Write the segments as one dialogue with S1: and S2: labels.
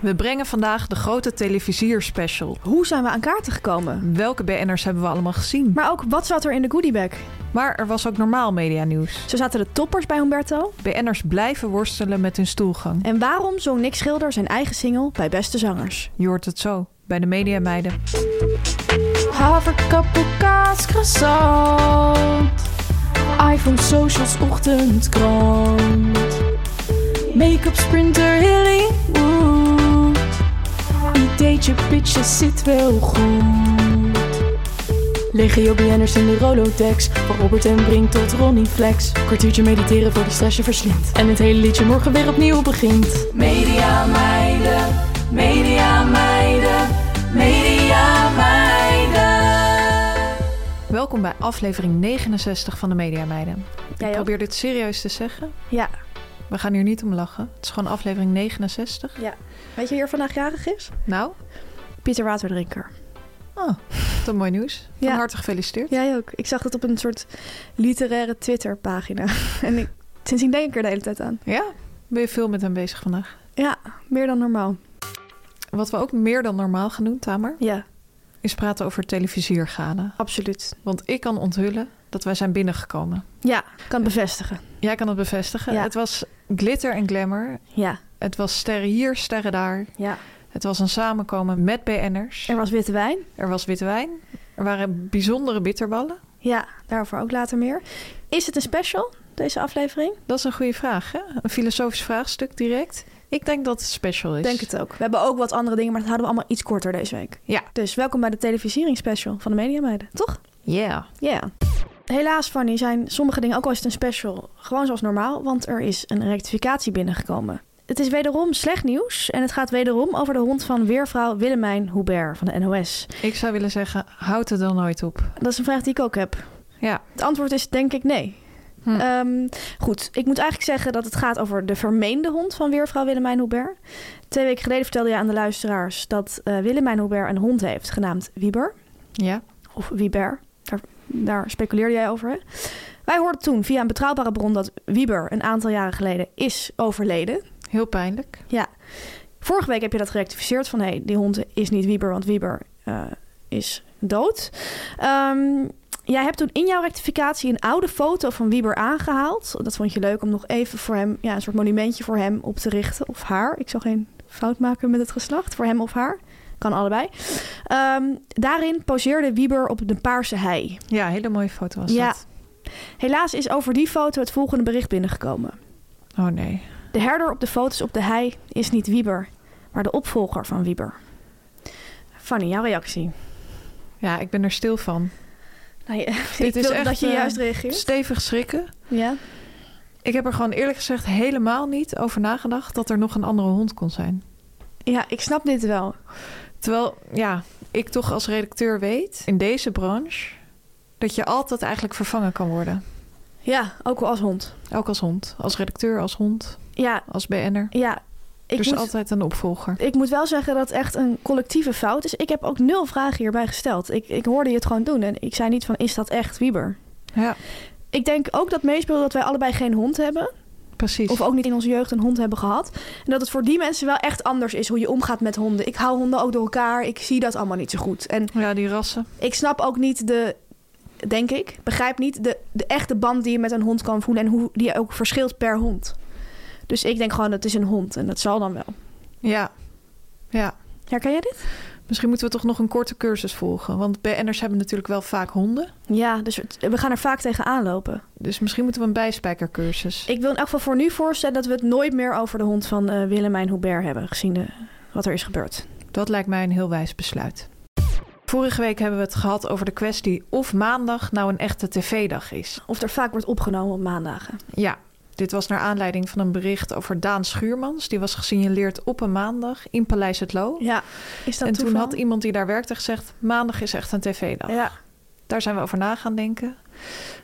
S1: We brengen vandaag de grote televisierspecial.
S2: Hoe zijn we aan kaarten gekomen?
S1: Welke BN'ers hebben we allemaal gezien?
S2: Maar ook, wat zat er in de goodiebag?
S1: Maar er was ook normaal medianieuws.
S2: Zo zaten de toppers bij Humberto.
S1: BN'ers blijven worstelen met hun stoelgang.
S2: En waarom zong Nick Schilder zijn eigen single bij Beste Zangers?
S1: Je hoort het zo, bij de Mediameiden.
S3: Haverkappel, kaas, croissant. iPhone, socials, ochtendkrant. Make-up, sprinter, Hollywood. Ideetje, pitje, zit wel goed. Legio BN'ers in de Rolodex. Van Robert en Brink tot Ronnie Flex. Kwartiertje mediteren voor de stress je verslindt. En het hele liedje morgen weer opnieuw begint. Media meiden, media meiden, media meiden.
S1: Welkom bij aflevering 69 van de Mediameiden.
S2: Jij
S1: Ik
S2: ook?
S1: probeer dit serieus te zeggen.
S2: Ja,
S1: We gaan hier niet om lachen. Het is gewoon aflevering 69.
S2: ja. Weet je wie er vandaag jarig is?
S1: Nou,
S2: Pieter Waterdrinker.
S1: dat mooi nieuws. Van
S2: Ja.
S1: harte gefeliciteerd.
S2: Jij ook. Ik zag dat op een soort literaire Twitter-pagina. En ik, sindsdien denk ik er de hele tijd aan.
S1: Ja, ben je veel met hem bezig vandaag.
S2: Ja, meer dan normaal.
S1: Wat we ook meer dan normaal gaan doen, Tamer,
S2: Ja,
S1: is praten over televisiergade.
S2: absoluut.
S1: Want ik kan onthullen dat wij zijn binnengekomen.
S2: Ja, kan het bevestigen.
S1: Jij kan het bevestigen.
S2: Ja.
S1: Het was glitter en glamour.
S2: Ja,
S1: Het was sterren hier, sterren daar.
S2: ja.
S1: Het was een samenkomen met BN'ers.
S2: Er was witte wijn.
S1: Er was witte wijn. Er waren bijzondere bitterballen.
S2: Ja, daarover ook later meer. Is het een special, deze aflevering?
S1: Dat is een goede vraag, hè? Een filosofisch vraagstuk direct. Ik denk dat het special is.
S2: Ik denk het ook. We hebben ook wat andere dingen, maar dat houden we allemaal iets korter deze week.
S1: Ja.
S2: Dus welkom bij de televisieringsspecial van de Media Meiden, toch?
S1: Yeah.
S2: Ja. Helaas, Fanny, zijn sommige dingen, ook al is het een special, gewoon zoals normaal, want er is een rectificatie binnengekomen. Het is wederom slecht nieuws en het gaat wederom over de hond van weervrouw Willemijn Hubert van de NOS.
S1: Ik zou willen zeggen, houd het dan nooit op.
S2: Dat is een vraag die ik ook heb.
S1: Ja.
S2: Het antwoord is denk ik nee.
S1: Hm.
S2: Ehm, goed, ik moet eigenlijk zeggen dat het gaat over de vermeende hond van weervrouw Willemijn Hubert. Twee weken geleden vertelde je aan de luisteraars dat eh, Willemijn Hubert een hond heeft genaamd Wieber.
S1: Ja.
S2: Of Wieber, daar, daar speculeerde jij over. Hè? Wij hoorden toen via een betrouwbare bron dat Wieber een aantal jaren geleden is overleden.
S1: Heel pijnlijk.
S2: Vorige week heb je dat gerectificeerd van hé, die hond is niet Wieber, want Wieber eh, is dood. Ehm, jij hebt toen in jouw rectificatie een oude foto van Wieber aangehaald. Dat vond je leuk om nog even voor hem, ja, een soort monumentje voor hem op te richten. Of haar. Ik zal geen fout maken met het geslacht. Voor hem of haar. Kan allebei. Ehm, daarin poseerde Wieber op de paarse hei.
S1: Ja, een hele mooie foto was
S2: Ja.
S1: dat.
S2: Helaas is over die foto het volgende bericht binnengekomen.
S1: Oh nee.
S2: De herder op de foto's op de hei is niet Wieber, maar de opvolger van Wieber. Fanny, jouw reactie?
S1: Ja, ik ben er stil van.
S2: Nou, je,
S1: Dit
S2: ik
S1: is
S2: wilde
S1: echt,
S2: dat je
S1: eh,
S2: juist reageert.
S1: Stevig schrikken.
S2: Ja.
S1: Ik heb er gewoon eerlijk gezegd helemaal niet over nagedacht dat er nog een andere hond kon zijn.
S2: ja, ik snap dit wel.
S1: Terwijl, ja, ik toch als redacteur weet in deze branche dat je altijd eigenlijk vervangen kan worden.
S2: Ja, ook wel als hond.
S1: Ook als hond. Als redacteur, als hond,
S2: Ja,
S1: als BN'er.
S2: ja. Ik,
S1: Er is
S2: moet,
S1: altijd een opvolger.
S2: ik moet wel zeggen dat het echt een collectieve fout is. Ik heb ook nul vragen hierbij gesteld. Ik, ik hoorde je het gewoon doen en ik zei niet van, is dat echt Wieber?
S1: Ja,
S2: Ik denk ook dat meespeelde dat wij allebei geen hond hebben.
S1: precies.
S2: Of ook niet in onze jeugd een hond hebben gehad. En dat het voor die mensen wel echt anders is hoe je omgaat met honden. Ik hou honden ook door elkaar. Ik zie dat allemaal niet zo goed. En
S1: ja, die rassen.
S2: ik snap ook niet de, denk ik, begrijp niet de, de echte band die je met een hond kan voelen en hoe die ook verschilt per hond. Dus ik denk gewoon, het is een hond en dat zal dan wel.
S1: Ja. Ja.
S2: Herken jij dit?
S1: Misschien moeten we toch nog een korte cursus volgen. Want BN'ers hebben natuurlijk wel vaak honden.
S2: Ja, dus het- we gaan er vaak tegenaan lopen.
S1: Dus misschien moeten we een bijspijkercursus.
S2: Ik wil in elk geval voor nu voorstellen dat we het nooit meer over de hond van eh, Willemijn Hubert hebben, gezien de, wat er is gebeurd.
S1: Dat lijkt mij een heel wijs besluit. Vorige week hebben we het gehad over de kwestie of maandag nou een echte tv-dag is.
S2: Of er vaak wordt opgenomen op maandagen.
S1: Ja, dit was naar aanleiding van een bericht over Daan Schuurmans. Die was gesignaleerd op een maandag in Paleis het Loo.
S2: Ja, is dat
S1: en toen
S2: toeval?
S1: had iemand die daar werkte gezegd... maandag is echt een tv-dag.
S2: Ja,
S1: Daar zijn we over na gaan denken.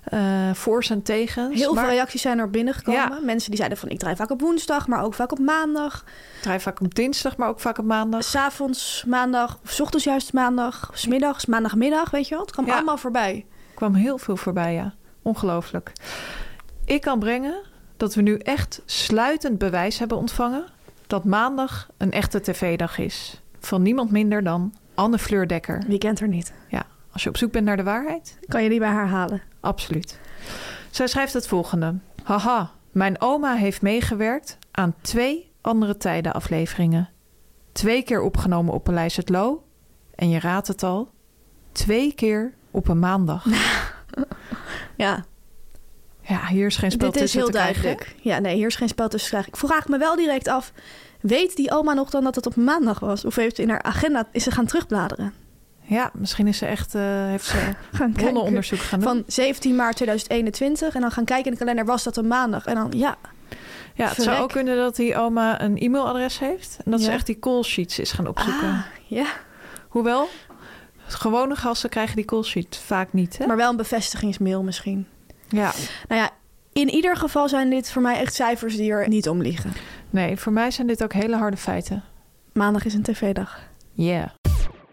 S1: Eh voor's en tegens.
S2: heel
S1: maar
S2: veel reacties zijn er binnengekomen.
S1: Ja.
S2: Mensen die zeiden van, ik draai vaak op woensdag, maar ook vaak op maandag.
S1: ik draai vaak op dinsdag, maar ook vaak op maandag.
S2: S'avonds, maandag, of 's ochtends juist maandag, of 's middags, maandagmiddag, weet je wel. Het kwam
S1: Ja.
S2: allemaal voorbij.
S1: kwam heel veel voorbij, ja. Ongelooflijk. Ik kan brengen dat we nu echt sluitend bewijs hebben ontvangen... dat maandag een echte tv-dag is. Van niemand minder dan Anne Fleur Dekker.
S2: Wie kent er niet?
S1: Ja, als je op zoek bent naar de waarheid...
S2: Kan je die bij haar halen?
S1: Absoluut. Zij schrijft het volgende. Haha, mijn oma heeft meegewerkt aan twee andere tijden afleveringen. Twee keer opgenomen op Paleis het Loo. En je raadt het al, twee keer op een maandag.
S2: Ja,
S1: Ja, hier is geen spel
S2: dit is
S1: tussen
S2: heel
S1: te krijgen, hè?
S2: duidelijk. Ja, nee, hier is geen spel tussen te krijgen. Ik vraag me wel direct af, weet die oma nog dan dat het op maandag was? Of heeft ze in haar agenda, is ze gaan terugbladeren?
S1: Ja, misschien is ze echt, eh, heeft ze
S2: Gaan
S1: hondenonderzoek gaan doen.
S2: Van 17 maart 2021 en dan gaan kijken in de kalender, was dat een maandag? En dan, ja,
S1: ja, het zou
S2: verrek.
S1: ook kunnen dat die oma een e-mailadres heeft. En dat ze
S2: Ja.
S1: echt die call sheets is gaan opzoeken.
S2: ah, ja.
S1: Hoewel, gewone gasten krijgen die call sheet vaak niet. Hè?
S2: Maar wel een bevestigingsmail misschien.
S1: ja.
S2: Nou ja, in ieder geval zijn dit voor mij echt cijfers die er niet om liegen.
S1: Nee, voor mij zijn dit ook hele harde feiten.
S2: Maandag is een tv-dag.
S1: Yeah.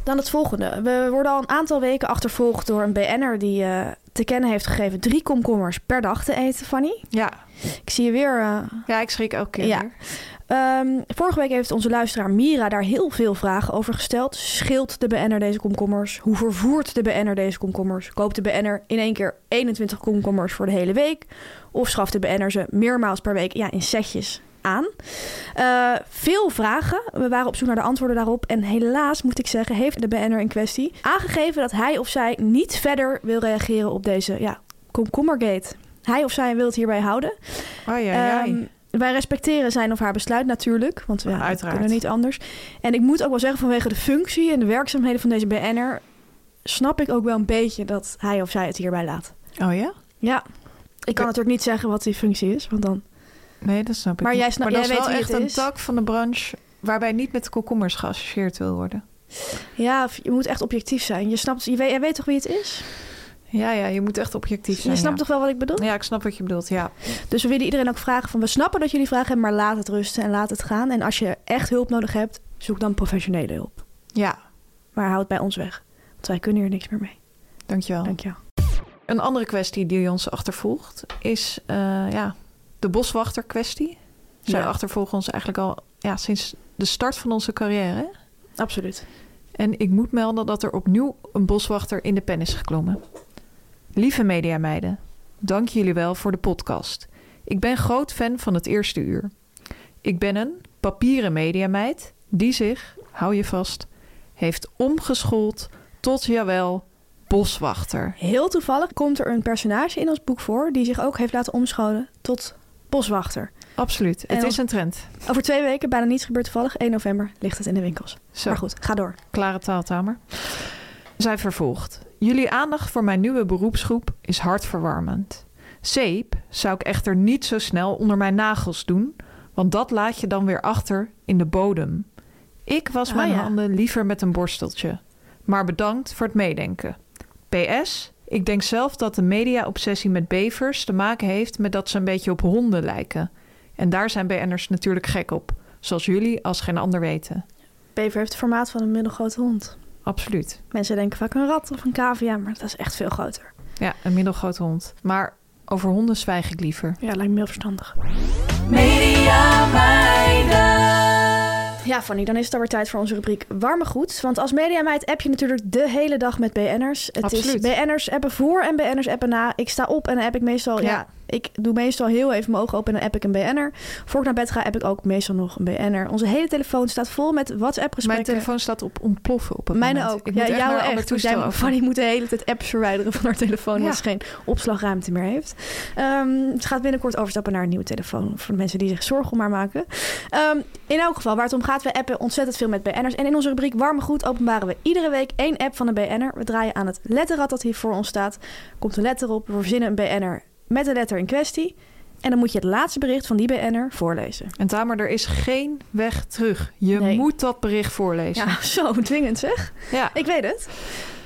S2: Dan het volgende. We worden al een aantal weken achtervolgd door een BN'er die eh, te kennen heeft gegeven drie komkommers per dag te eten, Fanny.
S1: Ja.
S2: Ik zie je weer. eh,
S1: ja, ik schrik elke keer
S2: Ja.
S1: weer.
S2: ehm, vorige week heeft onze luisteraar Mira daar heel veel vragen over gesteld. Scheelt de BN'er deze komkommers? Hoe vervoert de BN'er deze komkommers? Koopt de BN'er in één keer 21 komkommers voor de hele week? Of schaft de BN'er ze meermaals per week ja, in setjes aan? Eh, veel vragen. We waren op zoek naar de antwoorden daarop. En helaas, moet ik zeggen, heeft de BN'er in kwestie aangegeven dat hij of zij niet verder wil reageren op deze ja, komkommergate. Hij of zij wil het hierbij houden.
S1: Ai, ai, ai.
S2: Ehm, wij respecteren zijn of haar besluit natuurlijk, want ja, we
S1: Uiteraard.
S2: kunnen niet anders. En ik moet ook wel zeggen, vanwege de functie en de werkzaamheden van deze BN'er... snap ik ook wel een beetje dat hij of zij het hierbij laat.
S1: Oh ja?
S2: Ja, ik kan natuurlijk niet zeggen wat die functie is, want dan...
S1: Nee, dat snap ik
S2: Maar
S1: niet.
S2: jij snap-
S1: maar dat
S2: jij
S1: is
S2: weet
S1: wel
S2: wie
S1: echt
S2: het
S1: een
S2: is.
S1: tak van de branche waarbij niet met komkommers geassocieerd wil worden.
S2: Ja, of je moet echt objectief zijn. Je snapt, je weet, jij weet toch wie het is?
S1: Ja, ja, je moet echt objectief zijn.
S2: je snapt
S1: ja.
S2: toch wel wat ik bedoel?
S1: Ja, ik snap wat je bedoelt, ja.
S2: Dus we willen iedereen ook vragen van... we snappen dat jullie vragen hebben, maar laat het rusten en laat het gaan. En als je echt hulp nodig hebt, zoek dan professionele hulp.
S1: Ja,
S2: Maar houd het bij ons weg, want wij kunnen hier niks meer mee.
S1: dankjewel.
S2: Dank je.
S1: Een andere kwestie die ons achtervolgt is eh, ja, de boswachter kwestie. Zij
S2: Ja.
S1: achtervolgen ons eigenlijk al ja, sinds de start van onze carrière. hè?
S2: Absoluut.
S1: En ik moet melden dat er opnieuw een boswachter in de pen is geklommen. Lieve mediameiden, dank jullie wel voor de podcast. Ik ben groot fan van het eerste uur. Ik ben een papieren mediameid die zich, hou je vast, heeft omgeschoold tot jawel boswachter.
S2: Heel toevallig komt er een personage in ons boek voor die zich ook heeft laten omscholen tot boswachter.
S1: Absoluut,
S2: En
S1: het
S2: als-
S1: is een trend.
S2: Over twee weken, bijna niets gebeurt toevallig. 1 november ligt het in de winkels.
S1: Zo.
S2: Maar goed, ga door.
S1: Klare taaltamer. Zij vervolgt. Jullie aandacht voor mijn nieuwe beroepsgroep is hartverwarmend. Zeep zou ik echter niet zo snel onder mijn nagels doen, want dat laat je dan weer achter in de bodem. Ik was
S2: Ah,
S1: mijn
S2: ja.
S1: handen liever met een borsteltje. Maar bedankt voor het meedenken. PS, ik denk zelf dat de media-obsessie met bevers te maken heeft met dat ze een beetje op honden lijken. En daar zijn BN'ers natuurlijk gek op, zoals jullie als geen ander weten.
S2: Bever heeft het formaat van een middelgrote hond.
S1: Absoluut.
S2: Mensen denken vaak een rat of een cavia, maar dat is echt veel groter.
S1: Ja, een middelgrote hond. Maar over honden zwijg ik liever.
S2: Ja, lijkt me heel verstandig.
S3: Media meiden.
S2: Ja, Fanny, dan is het alweer tijd voor onze rubriek Warme Goed. Want als mediameid app je natuurlijk de hele dag met BN'ers. Het
S1: Absoluut.
S2: is BN'ers appen voor en BN'ers appen na. Ik sta op en dan app ik meestal... Ja.
S1: Ja.
S2: ik doe meestal heel even mijn ogen open en dan app ik een BN'er. Voor ik naar bed ga, app ik ook meestal nog een BN'er. Onze hele telefoon staat vol met
S1: Mijn
S2: WhatsApp-gesprekken.
S1: telefoon staat op ontploffen op het
S2: Mijne
S1: moment.
S2: ook.
S1: Ik
S2: ja,
S1: moet echt
S2: jouw
S1: naar een ander
S2: echt. Dus
S1: toestel
S2: jij,
S1: over.
S2: Fanny moet de hele tijd apps verwijderen van haar telefoon. Omdat
S1: Ja.
S2: ze geen opslagruimte meer heeft. Ehm, ze gaat binnenkort overstappen naar een nieuwe telefoon. Voor de mensen die zich zorgen om haar maken. Ehm, in elk geval, waar het om gaat, we appen ontzettend veel met BN'ers. En in onze rubriek Warme Goed openbaren we iedere week één app van een BN'er. We draaien aan het letterrad dat hier voor ons staat. Komt een letter op, we verzinnen een BN'er met de letter in kwestie. En dan moet je het laatste bericht van die BN'er voorlezen.
S1: En Tamer, er is geen weg terug. Je
S2: Nee.
S1: moet dat bericht voorlezen.
S2: Ja, zo dwingend zeg.
S1: Ja.
S2: Ik weet het.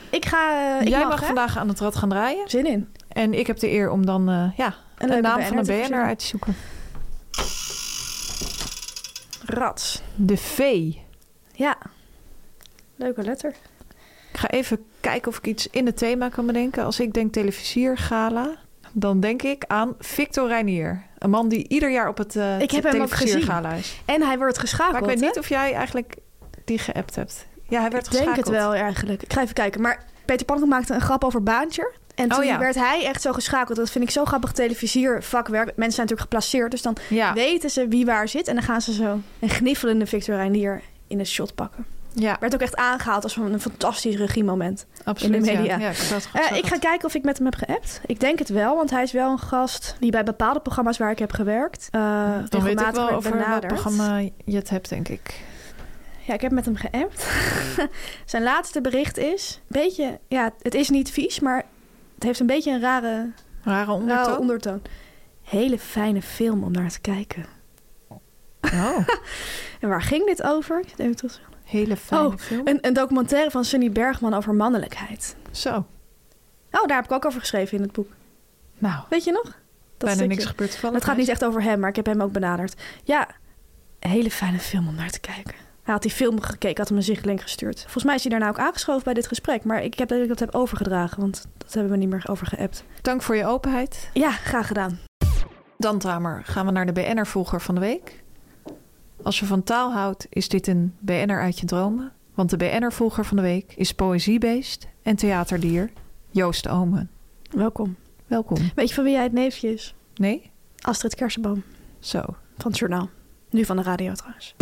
S2: Ik ga... eh, Ik
S1: Jij mag,
S2: mag hè?
S1: vandaag aan het rad gaan draaien.
S2: Zin in.
S1: En ik heb de eer om dan eh, ja, de
S2: Een leuke
S1: naam
S2: BN'er
S1: van een
S2: te
S1: BN'er
S2: verzinnen.
S1: uit te zoeken.
S2: Rats.
S1: De V.
S2: Ja. Leuke letter.
S1: Ik ga even kijken of ik iets in het thema kan bedenken. Als ik denk televisiergala, dan denk ik aan Victor Reinier. Een man die ieder jaar op het eh
S2: Ik heb hem ook
S1: televisiergala is.
S2: En hij wordt geschakeld.
S1: Maar Ah, ik weet
S2: hè?
S1: niet of jij eigenlijk die geappt hebt. Ja, hij werd
S2: Ik denk
S1: geschakeld.
S2: het wel eigenlijk. Ik ga even kijken. Maar Peter Pankow maakte een grap over baantje. En
S1: Oh
S2: toen
S1: ja.
S2: werd hij echt zo geschakeld. Dat vind ik zo grappig televisiervakwerk. Mensen zijn natuurlijk geplaceerd. Dus dan
S1: Ja,
S2: weten ze wie waar zit. En dan gaan ze zo een gniffelende Victor Reinier in het shot pakken.
S1: ja
S2: Werd ook echt aangehaald als een fantastisch regiemoment.
S1: absoluut.
S2: in de
S1: ja.
S2: media.
S1: Ja, ik, had dat
S2: Eh, ik
S1: geschakeld.
S2: ga kijken of ik met hem heb geappt. Ik denk het wel, want hij is wel een gast die bij bepaalde programma's waar ik heb gewerkt. eh,
S1: dan weet ik
S2: regelmatig
S1: wel
S2: werd
S1: over
S2: benaderd.
S1: welk programma je het hebt, denk ik.
S2: Ja, ik heb met hem geappt. Zijn laatste bericht is... Een beetje... Ja, het is niet vies, maar het heeft een beetje een rare
S1: Rare
S2: rare
S1: ondertoon.
S2: ondertoon. Hele fijne film om naar te kijken.
S1: Oh,
S2: En waar ging dit over? Ik zit even terug.
S1: hele fijne
S2: Oh,
S1: film.
S2: Een, een documentaire van Sunny Bergman over mannelijkheid.
S1: Zo,
S2: Oh, daar heb ik ook over geschreven in het boek.
S1: nou,
S2: Weet je nog? Dat
S1: bijna
S2: stukje.
S1: niks gebeurd toevallig.
S2: Het gaat niet echt over hem, maar ik heb hem ook benaderd. Ja, een hele fijne film om naar te kijken. Hij had die film gekeken, had hem een zichtlink gestuurd. Volgens mij is hij daarna ook aangeschoven bij dit gesprek. Maar ik heb dat ik dat heb overgedragen, want dat hebben we niet meer over geappt.
S1: Dank voor je openheid.
S2: Ja, graag gedaan.
S1: Dan, Tamer, gaan we naar de BN'er-volger van de week. Als je van taal houdt, is dit een BN'er uit je dromen. Want de BN'er-volger van de week is poëziebeest en theaterdier Joost Omen.
S2: Welkom.
S1: Welkom.
S2: Weet je van wie jij het neefje is?
S1: Nee?
S2: Astrid Kersenboom
S1: Zo.
S2: van het journaal. Nu van de radio trouwens.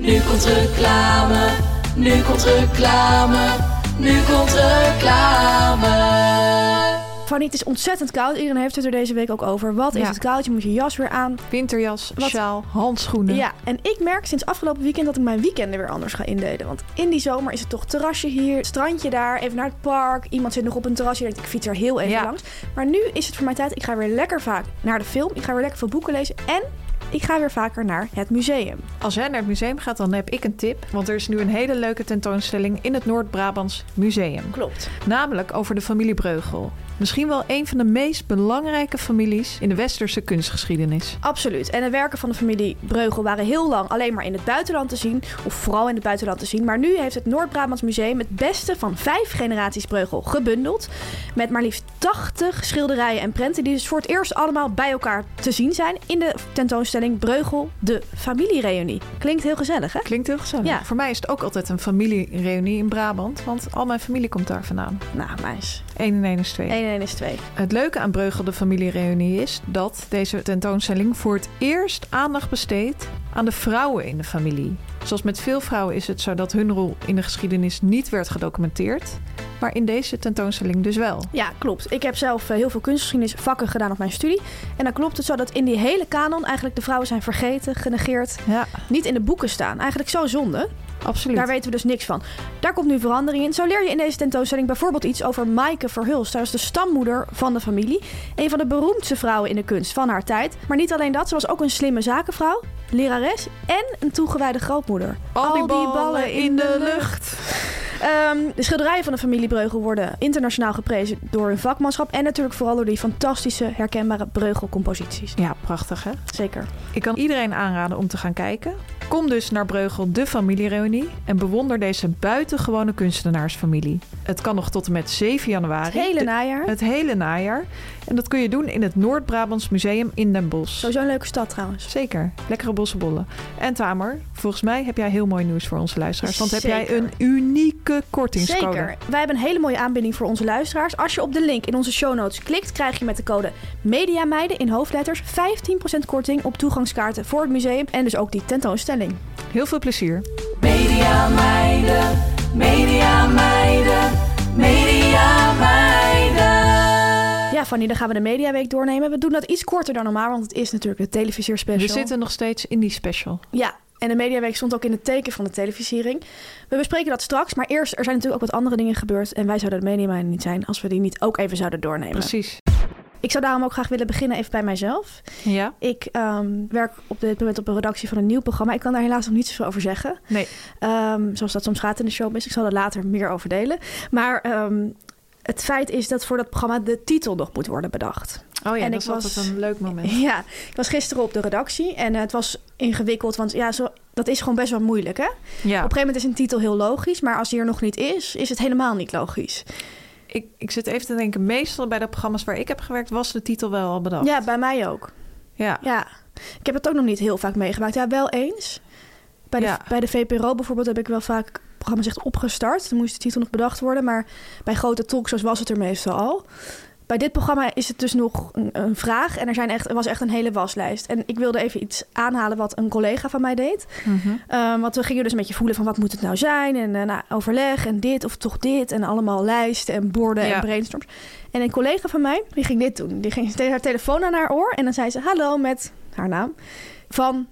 S3: Nu komt reclame. Nu komt reclame. Nu komt reclame.
S2: Fanny, het is ontzettend koud. Iedereen heeft het er deze week ook over. Wat is
S1: Ja.
S2: het koud? Je moet je jas weer aan.
S1: Winterjas,
S2: Wat-
S1: sjaal, handschoenen.
S2: Ja, en ik merk sinds afgelopen weekend dat ik mijn weekenden weer anders ga indelen. Want in die zomer is het toch terrasje hier, strandje daar, even naar het park. Iemand zit nog op een terrasje, denkt ik fiets er heel even
S1: Ja.
S2: langs. Maar nu is het voor mij tijd, ik ga weer lekker vaak naar de film. Ik ga weer lekker veel boeken lezen en ik ga weer vaker naar het museum.
S1: Als jij naar het museum gaat, dan heb ik een tip. Want er is nu een hele leuke tentoonstelling in het Noord-Brabants Museum.
S2: Klopt.
S1: Namelijk over de familie Breugel. Misschien wel een van de meest belangrijke families in de westerse kunstgeschiedenis.
S2: Absoluut. En de werken van de familie Breugel waren heel lang alleen maar in het buitenland te zien. Of vooral in het buitenland te zien. Maar nu heeft het Noord-Brabants Museum het beste van vijf generaties Breugel gebundeld. Met maar liefst 80 schilderijen en prenten. Die dus voor het eerst allemaal bij elkaar te zien zijn. In de tentoonstelling Breugel, de familiereunie. Klinkt heel gezellig, hè?
S1: Klinkt heel gezellig.
S2: Ja.
S1: Voor mij is het ook altijd een familiereunie in Brabant, want al mijn familie komt daar vandaan.
S2: Nou, meis.
S1: 1 en 1 is 2.
S2: 1 en 1 is 2.
S1: Het leuke aan Breugel de familiereunie is dat deze tentoonstelling voor het eerst aandacht besteedt aan de vrouwen in de familie. Zoals met veel vrouwen is het zo dat hun rol in de geschiedenis niet werd gedocumenteerd, maar in deze tentoonstelling dus wel.
S2: Ja, klopt. Ik heb zelf eh, heel veel kunstgeschiedenisvakken gedaan op mijn studie. En dan klopt het zo dat in die hele kanon eigenlijk de vrouwen zijn vergeten, genegeerd.
S1: Ja,
S2: Niet in de boeken staan. Eigenlijk zo zonde.
S1: absoluut.
S2: Daar weten we dus niks van. Daar komt nu verandering in. Zo leer je in deze tentoonstelling bijvoorbeeld iets over Maaike Verhulst. Zij was de stammoeder van de familie. Een van de beroemdste vrouwen in de kunst van haar tijd. Maar niet alleen dat, ze was ook een slimme zakenvrouw, lerares en een toegewijde grootmoeder.
S1: Al die ballen in de lucht.
S2: Eh, Ehm, de schilderijen van de familie Breugel worden internationaal geprezen door hun vakmanschap. En natuurlijk vooral door die fantastische, herkenbare Breugel-composities.
S1: Ja, prachtig hè?
S2: Zeker.
S1: Ik kan iedereen aanraden om te gaan kijken. Kom dus naar Breugel de familiereunie en bewonder deze buitengewone kunstenaarsfamilie. Het kan nog tot en met 7 januari.
S2: Het hele
S1: de-
S2: najaar.
S1: het hele najaar. En dat kun je doen in het Noord-Brabants Museum in Den Bosch.
S2: Sowieso een leuke stad trouwens.
S1: Zeker. Lekkere bossenbollen. En Tamer, volgens mij heb jij heel mooi nieuws voor onze luisteraars. Want heb jij
S2: Zeker.
S1: een unieke kortingscode.
S2: Zeker. Wij hebben een hele mooie aanbieding voor onze luisteraars. Als je op de link in onze show notes klikt, krijg je met de code MEDIAMeiden in hoofdletters 15% korting op toegangskaarten voor het museum en dus ook die tentoonstelling.
S1: Heel veel plezier.
S3: Media meiden, media meiden, media meiden.
S2: Ja, Fanny, dan gaan we de Mediaweek doornemen. We doen dat iets korter dan normaal, want het is natuurlijk de televisierspecial.
S1: We zitten nog steeds in die special.
S2: Ja, en de Mediaweek stond ook in het teken van de televisiering. We bespreken dat straks, maar eerst, er zijn natuurlijk ook wat andere dingen gebeurd. En wij zouden de Mediameiden niet zijn als we die niet ook even zouden doornemen.
S1: Precies.
S2: Ik zou daarom ook graag willen beginnen even bij mijzelf.
S1: Ja?
S2: Ik ehm, werk op dit moment op een redactie van een nieuw programma. Ik kan daar helaas nog niet zoveel over zeggen.
S1: Nee.
S2: Ehm, zoals dat soms gaat in de showbiz. Ik zal er later meer over delen. Maar ehm, het feit is dat voor dat programma de titel nog moet worden bedacht.
S1: Oh ja,
S2: En
S1: dat
S2: ik
S1: was
S2: was-
S1: altijd een leuk moment.
S2: Ja, ik was gisteren op de redactie en eh, het was ingewikkeld. Want ja, zo, dat is gewoon best wel moeilijk, hè?
S1: Ja.
S2: Op een gegeven moment is een titel heel logisch, maar als die er nog niet is, is het helemaal niet logisch.
S1: Ik, ik zit even te denken, meestal bij de programma's waar ik heb gewerkt, was de titel wel al bedacht.
S2: Ja, bij mij ook.
S1: ja.
S2: Ja, ik heb het ook nog niet heel vaak meegemaakt. Ja, wel eens. Bij de,
S1: Ja.
S2: bij de VPRO bijvoorbeeld heb ik wel vaak programma's echt opgestart. Dan moest de titel nog bedacht worden, maar bij grote talkshows was het er meestal al. Bij dit programma is het dus nog een, een vraag en er, zijn echt, er was echt een hele waslijst. En ik wilde even iets aanhalen wat een collega van mij deed.
S1: Mhm.
S2: Ehm, want we gingen dus een beetje voelen van wat moet het nou zijn? En eh, nou, overleg en dit of toch dit. En allemaal lijsten en borden
S1: Ja.
S2: en brainstorms. En een collega van mij, die ging dit doen. Die ging steeds haar telefoon aan haar oor. En dan zei ze hallo met haar naam. Van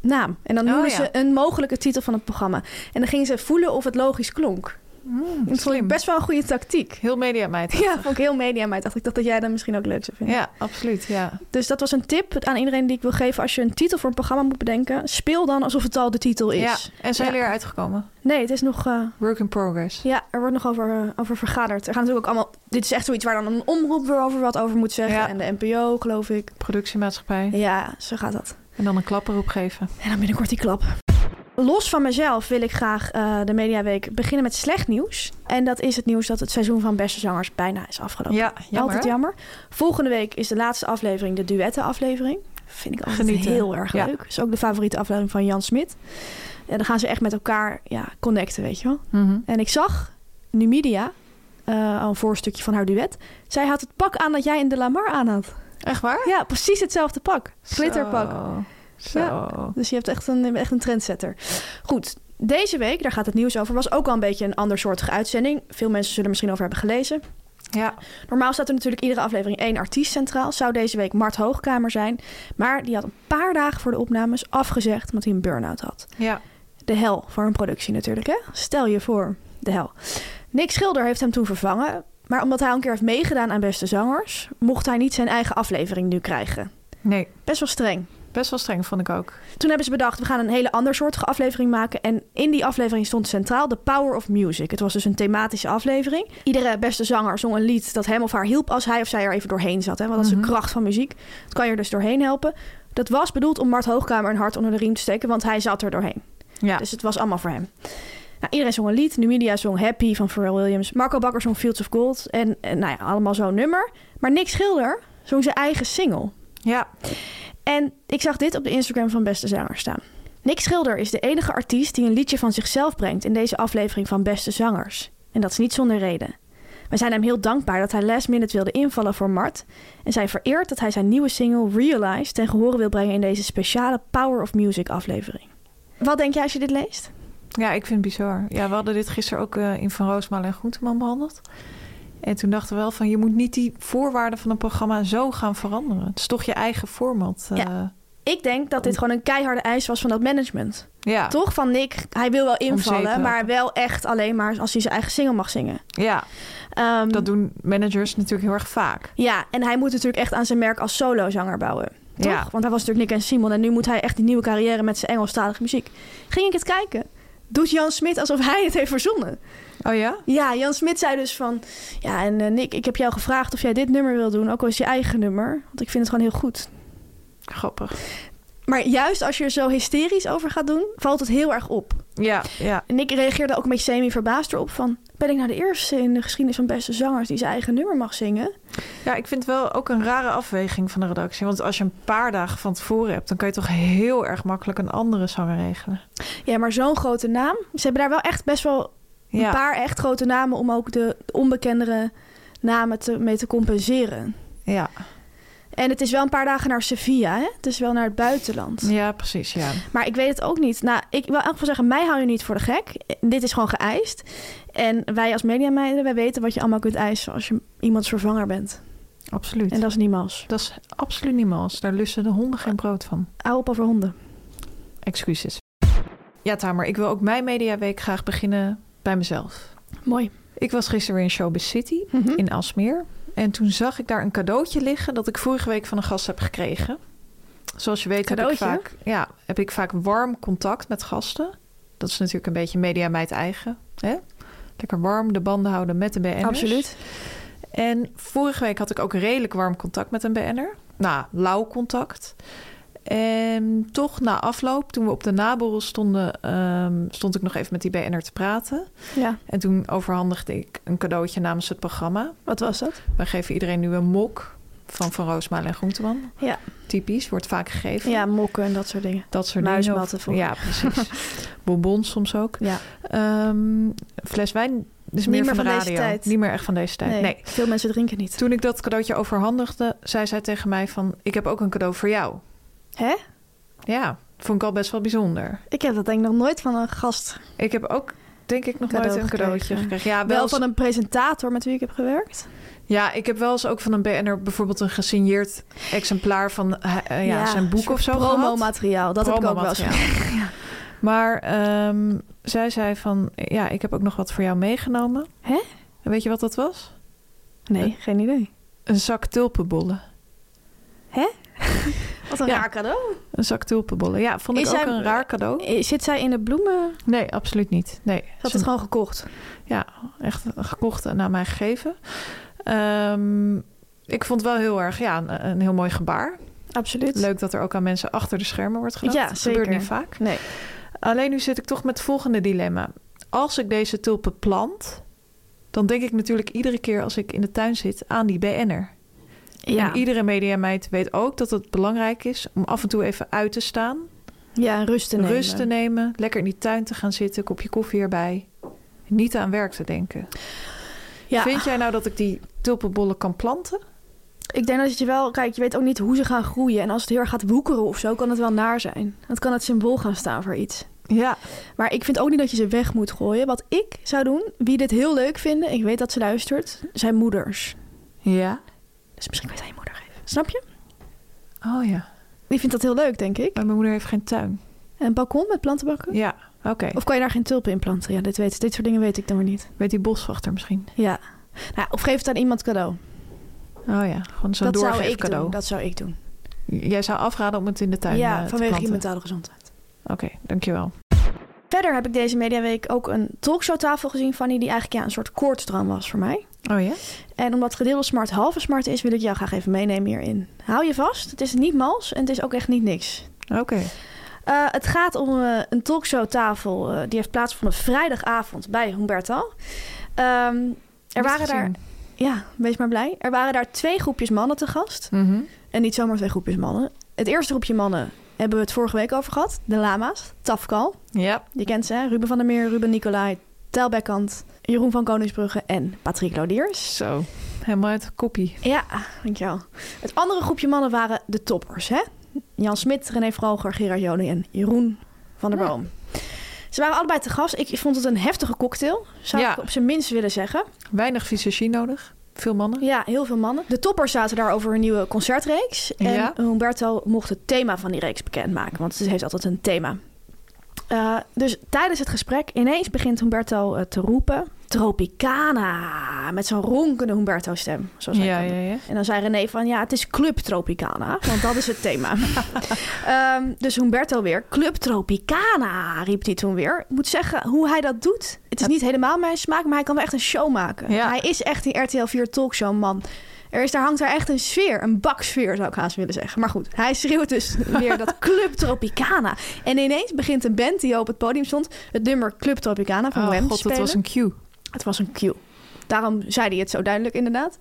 S2: naam. En dan
S1: Oh,
S2: noemde
S1: ja.
S2: ze een mogelijke titel van het programma. En dan ging ze voelen of het logisch klonk.
S1: Mm,
S2: Dat vond ik
S1: slim.
S2: best wel een goede tactiek.
S1: Heel media meid.
S2: Ja, vond ik heel media, maar dacht ik dacht dat jij dat misschien ook leuk zou vinden.
S1: Ja, absoluut. Ja.
S2: Dus dat was een tip aan iedereen die ik wil geven. Als je een titel voor een programma moet bedenken, speel dan alsof het al de titel is.
S1: ja. En zijn
S2: Ja.
S1: jullie eruit gekomen?
S2: Nee, het is nog eh,
S1: Work in progress.
S2: Ja, er wordt nog over, eh, over vergaderd. Er gaan natuurlijk ook allemaal. Dit is echt zoiets waar dan een omroep weer over wat over moet zeggen.
S1: Ja.
S2: En de NPO, geloof ik.
S1: Productiemaatschappij.
S2: Ja, zo gaat dat.
S1: En dan een klapper geven.
S2: En dan binnenkort die klap. Los van mezelf wil ik graag eh, de Mediaweek beginnen met slecht nieuws. En dat is het nieuws dat het seizoen van Beste Zangers bijna is afgelopen.
S1: Ja, jammer.
S2: altijd
S1: hè?
S2: jammer. Volgende week is de laatste aflevering, de duettenaflevering. Vind ik altijd
S1: Genieten.
S2: heel erg
S1: Ja.
S2: leuk. Is ook de favoriete aflevering van Jan Smit. En dan gaan ze echt met elkaar ja, connecten, weet je wel.
S1: Mhm.
S2: En ik zag Numidia, eh, al een voorstukje van haar duet. Zij had het pak aan dat jij in de Lamar aan had.
S1: Echt waar?
S2: Ja, precies hetzelfde pak. Glitterpak.
S1: Zo. Zo.
S2: Dus je hebt echt een, je bent echt een trendsetter. Goed, deze week, daar gaat het nieuws over, was ook al een beetje een andersoortige uitzending. Veel mensen zullen er misschien over hebben gelezen.
S1: Ja.
S2: Normaal staat er natuurlijk iedere aflevering één artiest centraal. Zou deze week Mart Hoogkamer zijn. Maar die had een paar dagen voor de opnames afgezegd omdat hij een burn-out had.
S1: Ja.
S2: De hel voor een productie natuurlijk, hè? Stel je voor, de hel. Nick Schilder heeft hem toen vervangen. Maar omdat hij al een keer heeft meegedaan aan Beste Zangers... mocht hij niet zijn eigen aflevering nu krijgen.
S1: Nee.
S2: Best wel streng.
S1: Best wel streng vond ik ook.
S2: Toen hebben ze bedacht, we gaan een hele andersoortige aflevering maken. En in die aflevering stond centraal The Power of Music. Het was dus een thematische aflevering. Iedere beste zanger zong een lied dat hem of haar hielp... als hij of zij er even doorheen zat. Hè? Want dat is
S1: Mhm.
S2: de kracht van muziek. Het kan je er dus doorheen helpen. Dat was bedoeld om Mart Hoogkamer een hart onder de riem te steken... want hij zat er doorheen.
S1: Ja.
S2: Dus het was allemaal voor hem. Nou, iedereen zong een lied. Numidia zong Happy van Pharrell Williams. Marco Bakker zong Fields of Gold. En, en nou ja, allemaal zo'n nummer. Maar Nick Schilder zong zijn eigen single.
S1: Ja.
S2: En ik zag dit op de Instagram van Beste Zanger staan. Nick Schilder is de enige artiest die een liedje van zichzelf brengt in deze aflevering van Beste Zangers. En dat is niet zonder reden. We zijn hem heel dankbaar dat hij last minute wilde invallen voor Mart. En zijn vereerd dat hij zijn nieuwe single Realize ten gehore wil brengen in deze speciale Power of Music aflevering. Wat denk jij als je dit leest?
S1: Ja, ik vind het bizar. Ja, we hadden dit gisteren ook eh, in Van Roosmalen en Groenteman behandeld. En toen dachten we wel van, je moet niet die voorwaarden van een programma zo gaan veranderen. Het is toch je eigen format. eh, ja.
S2: Ik denk dat dit gewoon een keiharde eis was van dat management. Toch van Nick, hij wil wel
S1: zeep
S2: invallen,
S1: te
S2: maar
S1: helpen.
S2: wel echt alleen maar als hij zijn eigen single mag zingen.
S1: Ja,
S2: Ehm,
S1: dat doen managers natuurlijk heel erg vaak.
S2: Ja, en hij moet natuurlijk echt aan zijn merk als solozanger bouwen. Toch?
S1: Ja.
S2: Want hij was natuurlijk Nick en Simon en nu moet hij echt die nieuwe carrière met zijn Engelstalige muziek. Ging ik het kijken? Doet Jan Smit alsof hij het heeft verzonnen?
S1: Oh ja?
S2: Ja, Jan Smit zei dus van... Ja, en eh, Nick, ik heb jou gevraagd of jij dit nummer wil doen. Ook al is het je eigen nummer. Want ik vind het gewoon heel goed.
S1: Grappig.
S2: Maar juist als je er zo hysterisch over gaat doen... valt het heel erg op.
S1: Ja, ja.
S2: En Nick reageerde ook een beetje semi-verbaasd erop van... ben ik nou de eerste in de geschiedenis van beste zangers... die zijn eigen nummer mag zingen?
S1: Ja, ik vind het wel ook een rare afweging van de redactie. Want als je een paar dagen van tevoren hebt, dan kan je toch heel erg makkelijk een andere zanger regelen.
S2: Ja, maar zo'n grote naam. Ze hebben daar wel echt best wel
S1: Ja.
S2: een paar echt grote namen... om ook de onbekendere namen te, mee te compenseren.
S1: Ja,
S2: En het is wel een paar dagen naar Sevilla, hè? Het is wel naar het buitenland.
S1: ja precies. Ja.
S2: Maar ik weet het ook niet. Nou, ik wil in elk geval zeggen, mij hou je niet voor de gek. Eh, Dit is gewoon geëist. En wij als mediameiden, wij weten wat je allemaal kunt eisen... als je iemands vervanger bent.
S1: Absoluut.
S2: En dat is niemals.
S1: Dat is absoluut niet mals. Daar lussen de honden geen brood van.
S2: Hou op over honden.
S1: Excuses. Ja, Tamer, ik wil ook mijn mediaweek graag beginnen bij mezelf.
S2: Mooi.
S1: Ik was gisteren weer in Showbiz City
S2: Mhm. Hm?
S1: in Alsmeer. En toen zag ik daar een cadeautje liggen dat ik vorige week van een gast heb gekregen. Zoals je weet heb ik,
S2: Cadeautje?
S1: vaak, ja, heb ik vaak warm contact met gasten. Dat is natuurlijk een beetje media meid eigen. Hè? Lekker warm de banden houden met de BN'ers.
S2: Absoluut.
S1: En vorige week had ik ook redelijk warm contact met een BN'er. Nou, lauw contact. En toch na afloop, toen we op de naborrel stonden... ehm, stond ik nog even met die BN'er te praten.
S2: Ja.
S1: En toen overhandigde ik een cadeautje namens het programma.
S2: Wat was dat?
S1: Wij geven iedereen nu een mok van Van Roosmalen en Groenteman.
S2: Ja.
S1: Typisch, wordt vaak gegeven.
S2: Ja, mokken en dat soort dingen.
S1: Dat soort
S2: Muismatten
S1: dingen. Ja, precies. Bonbons soms ook.
S2: Ja.
S1: Ehm, fles wijn is meer,
S2: meer
S1: van de
S2: van
S1: radio.
S2: deze tijd.
S1: Niet meer echt van deze tijd.
S2: Nee,
S1: nee.
S2: Veel mensen drinken niet.
S1: Toen ik dat cadeautje overhandigde, zei zij tegen mij van... ik heb ook een cadeau voor jou.
S2: Hè?
S1: Ja, vond ik al best wel bijzonder.
S2: Ik heb dat denk ik nog nooit van een gast.
S1: Ik heb ook, denk ik, nog
S2: Cadeau
S1: nooit een cadeautje
S2: gekregen.
S1: gekregen. Ja,
S2: Wel,
S1: wel, eens-
S2: van een presentator met wie ik heb gewerkt.
S1: ja, ik heb wel eens ook van een BN'er bijvoorbeeld een gesigneerd exemplaar van eh,
S2: Oh
S1: eh, ja, zijn boek of zo gehad.
S2: Promo-materiaal. Dat heb ik ook wel eens.
S1: Promomateriaal. Maar ehm, zij zei van, ja, ik heb ook nog wat voor jou meegenomen.
S2: Hè?
S1: En weet je wat dat was?
S2: Nee, geen idee.
S1: Een zak tulpenbollen.
S2: Wat een
S1: Ja.
S2: raar cadeau.
S1: Een zak tulpenbollen. Ja, vond ik
S2: Is
S1: ook
S2: zij-
S1: een raar cadeau.
S2: Eh, Zit zij in de bloemen?
S1: Nee, absoluut niet. Nee,
S2: Ze
S1: ze
S2: had het gewoon gekocht.
S1: echt gekocht en naar mij gegeven. Ehm, ik vond wel heel erg, ja, een, een heel mooi gebaar.
S2: Absoluut.
S1: Leuk dat er ook aan mensen achter de schermen wordt gedacht.
S2: Ja,
S1: dat
S2: zeker.
S1: gebeurt niet vaak.
S2: Nee.
S1: Alleen nu zit ik toch met het volgende dilemma. Als ik deze tulpen plant, dan denk ik natuurlijk iedere keer als ik in de tuin zit aan die BN'er.
S2: Ja.
S1: En iedere mediameid weet ook dat het belangrijk is om af en toe even uit te staan.
S2: ja, en rust te nemen.
S1: Rust te nemen, lekker in die tuin te gaan zitten, kopje koffie erbij. Niet aan werk te denken.
S2: Ja,
S1: Vind jij nou dat ik die tulpenbollen kan planten?
S2: ik denk dat je wel... Kijk, je weet ook niet hoe ze gaan groeien. En als het heel erg gaat woekeren of zo, kan het wel naar zijn. Dat kan het symbool gaan staan voor iets.
S1: Ja.
S2: Maar ik vind ook niet dat je ze weg moet gooien. Wat ik zou doen, wie dit heel leuk vinden... Ik weet dat ze luistert, zijn moeders.
S1: Ja?
S2: Dus misschien kan je het aan je moeder geven. Snap je?
S1: Oh ja.
S2: Die vindt dat heel leuk, denk ik.
S1: Maar mijn moeder heeft geen tuin.
S2: Een balkon met plantenbakken?
S1: Ja, oké.
S2: Of kan je daar geen tulpen in planten? Ja, dit, weet, dit soort dingen weet ik dan weer niet.
S1: Weet die boswachter misschien?
S2: Ja. Nou, of geef het aan iemand cadeau.
S1: Oh ja, gewoon zo'n
S2: dat zou ik
S1: doorgeefcadeau.
S2: doen. Dat zou ik doen.
S1: Jij zou afraden om het in de tuin eh,
S2: ja,
S1: te
S2: vanwege je
S1: planten?
S2: mentale gezondheid.
S1: Oké, dankjewel.
S2: Verder heb ik deze mediaweek ook een talkshowtafel gezien, Fanny, die eigenlijk ja, een soort koortsdroom was voor mij.
S1: Oh ja?
S2: En omdat het gedeelde smart halve smart is, wil ik jou graag even meenemen hierin. Hou je vast, het is niet mals en het is ook echt niet niks.
S1: Oké.
S2: Eh, het gaat om eh, een talkshowtafel eh, die heeft plaatsgevonden vrijdagavond bij Humberto. Ehm, er waren daar, ja, wees maar blij. Er waren daar twee groepjes mannen te gast.
S1: Mhm.
S2: En niet zomaar twee groepjes mannen. Het eerste groepje mannen hebben we het vorige week over gehad. De lama's, Tafkal.
S1: Ja.
S2: Je kent ze, hè? Ruben van der Meer, Ruben Nicolai, Tel Bekkant, Jeroen van Koningsbrugge en Patrick Lodiers.
S1: Zo, helemaal uit de koppie.
S2: Ja, dankjewel. Het andere groepje mannen waren de toppers, hè? Jan Smit, René Vroger, Gerard Joning en Jeroen van der Boom. Ze waren allebei te gast. Ik vond het een heftige cocktail, zou
S1: Ja.
S2: ik op zijn minst willen zeggen.
S1: Weinig visagie nodig. Veel mannen.
S2: Ja, heel veel mannen. De toppers zaten daar over hun nieuwe concertreeks. En
S1: Ja.
S2: Humberto mocht het thema van die reeks bekendmaken, want het heeft altijd een thema. Eh, dus tijdens het gesprek ineens begint Humberto eh, te roepen... Tropicana, met zo'n ronkende Humberto-stem. Zoals hij
S1: ja,
S2: dan
S1: ja, ja.
S2: en dan zei René van ja, het is Club Tropicana, want dat is het thema. Ehm, dus Humberto weer, Club Tropicana, riep hij toen weer. Ik moet zeggen, hoe hij dat doet, Het is niet helemaal mijn smaak, maar hij kan wel echt een show maken.
S1: Ja.
S2: Hij is echt die RTL 4 talkshow man. Er is, daar hangt daar echt een sfeer, een baksfeer zou ik haast willen zeggen. Maar goed, hij schreeuwt dus weer dat Club Tropicana. En ineens begint een band die op het podium stond het nummer Club Tropicana van
S1: Oh
S2: Wham
S1: god,
S2: te
S1: dat
S2: spelen.
S1: was een cue.
S2: Het was een cue. Daarom zei hij het zo duidelijk, inderdaad.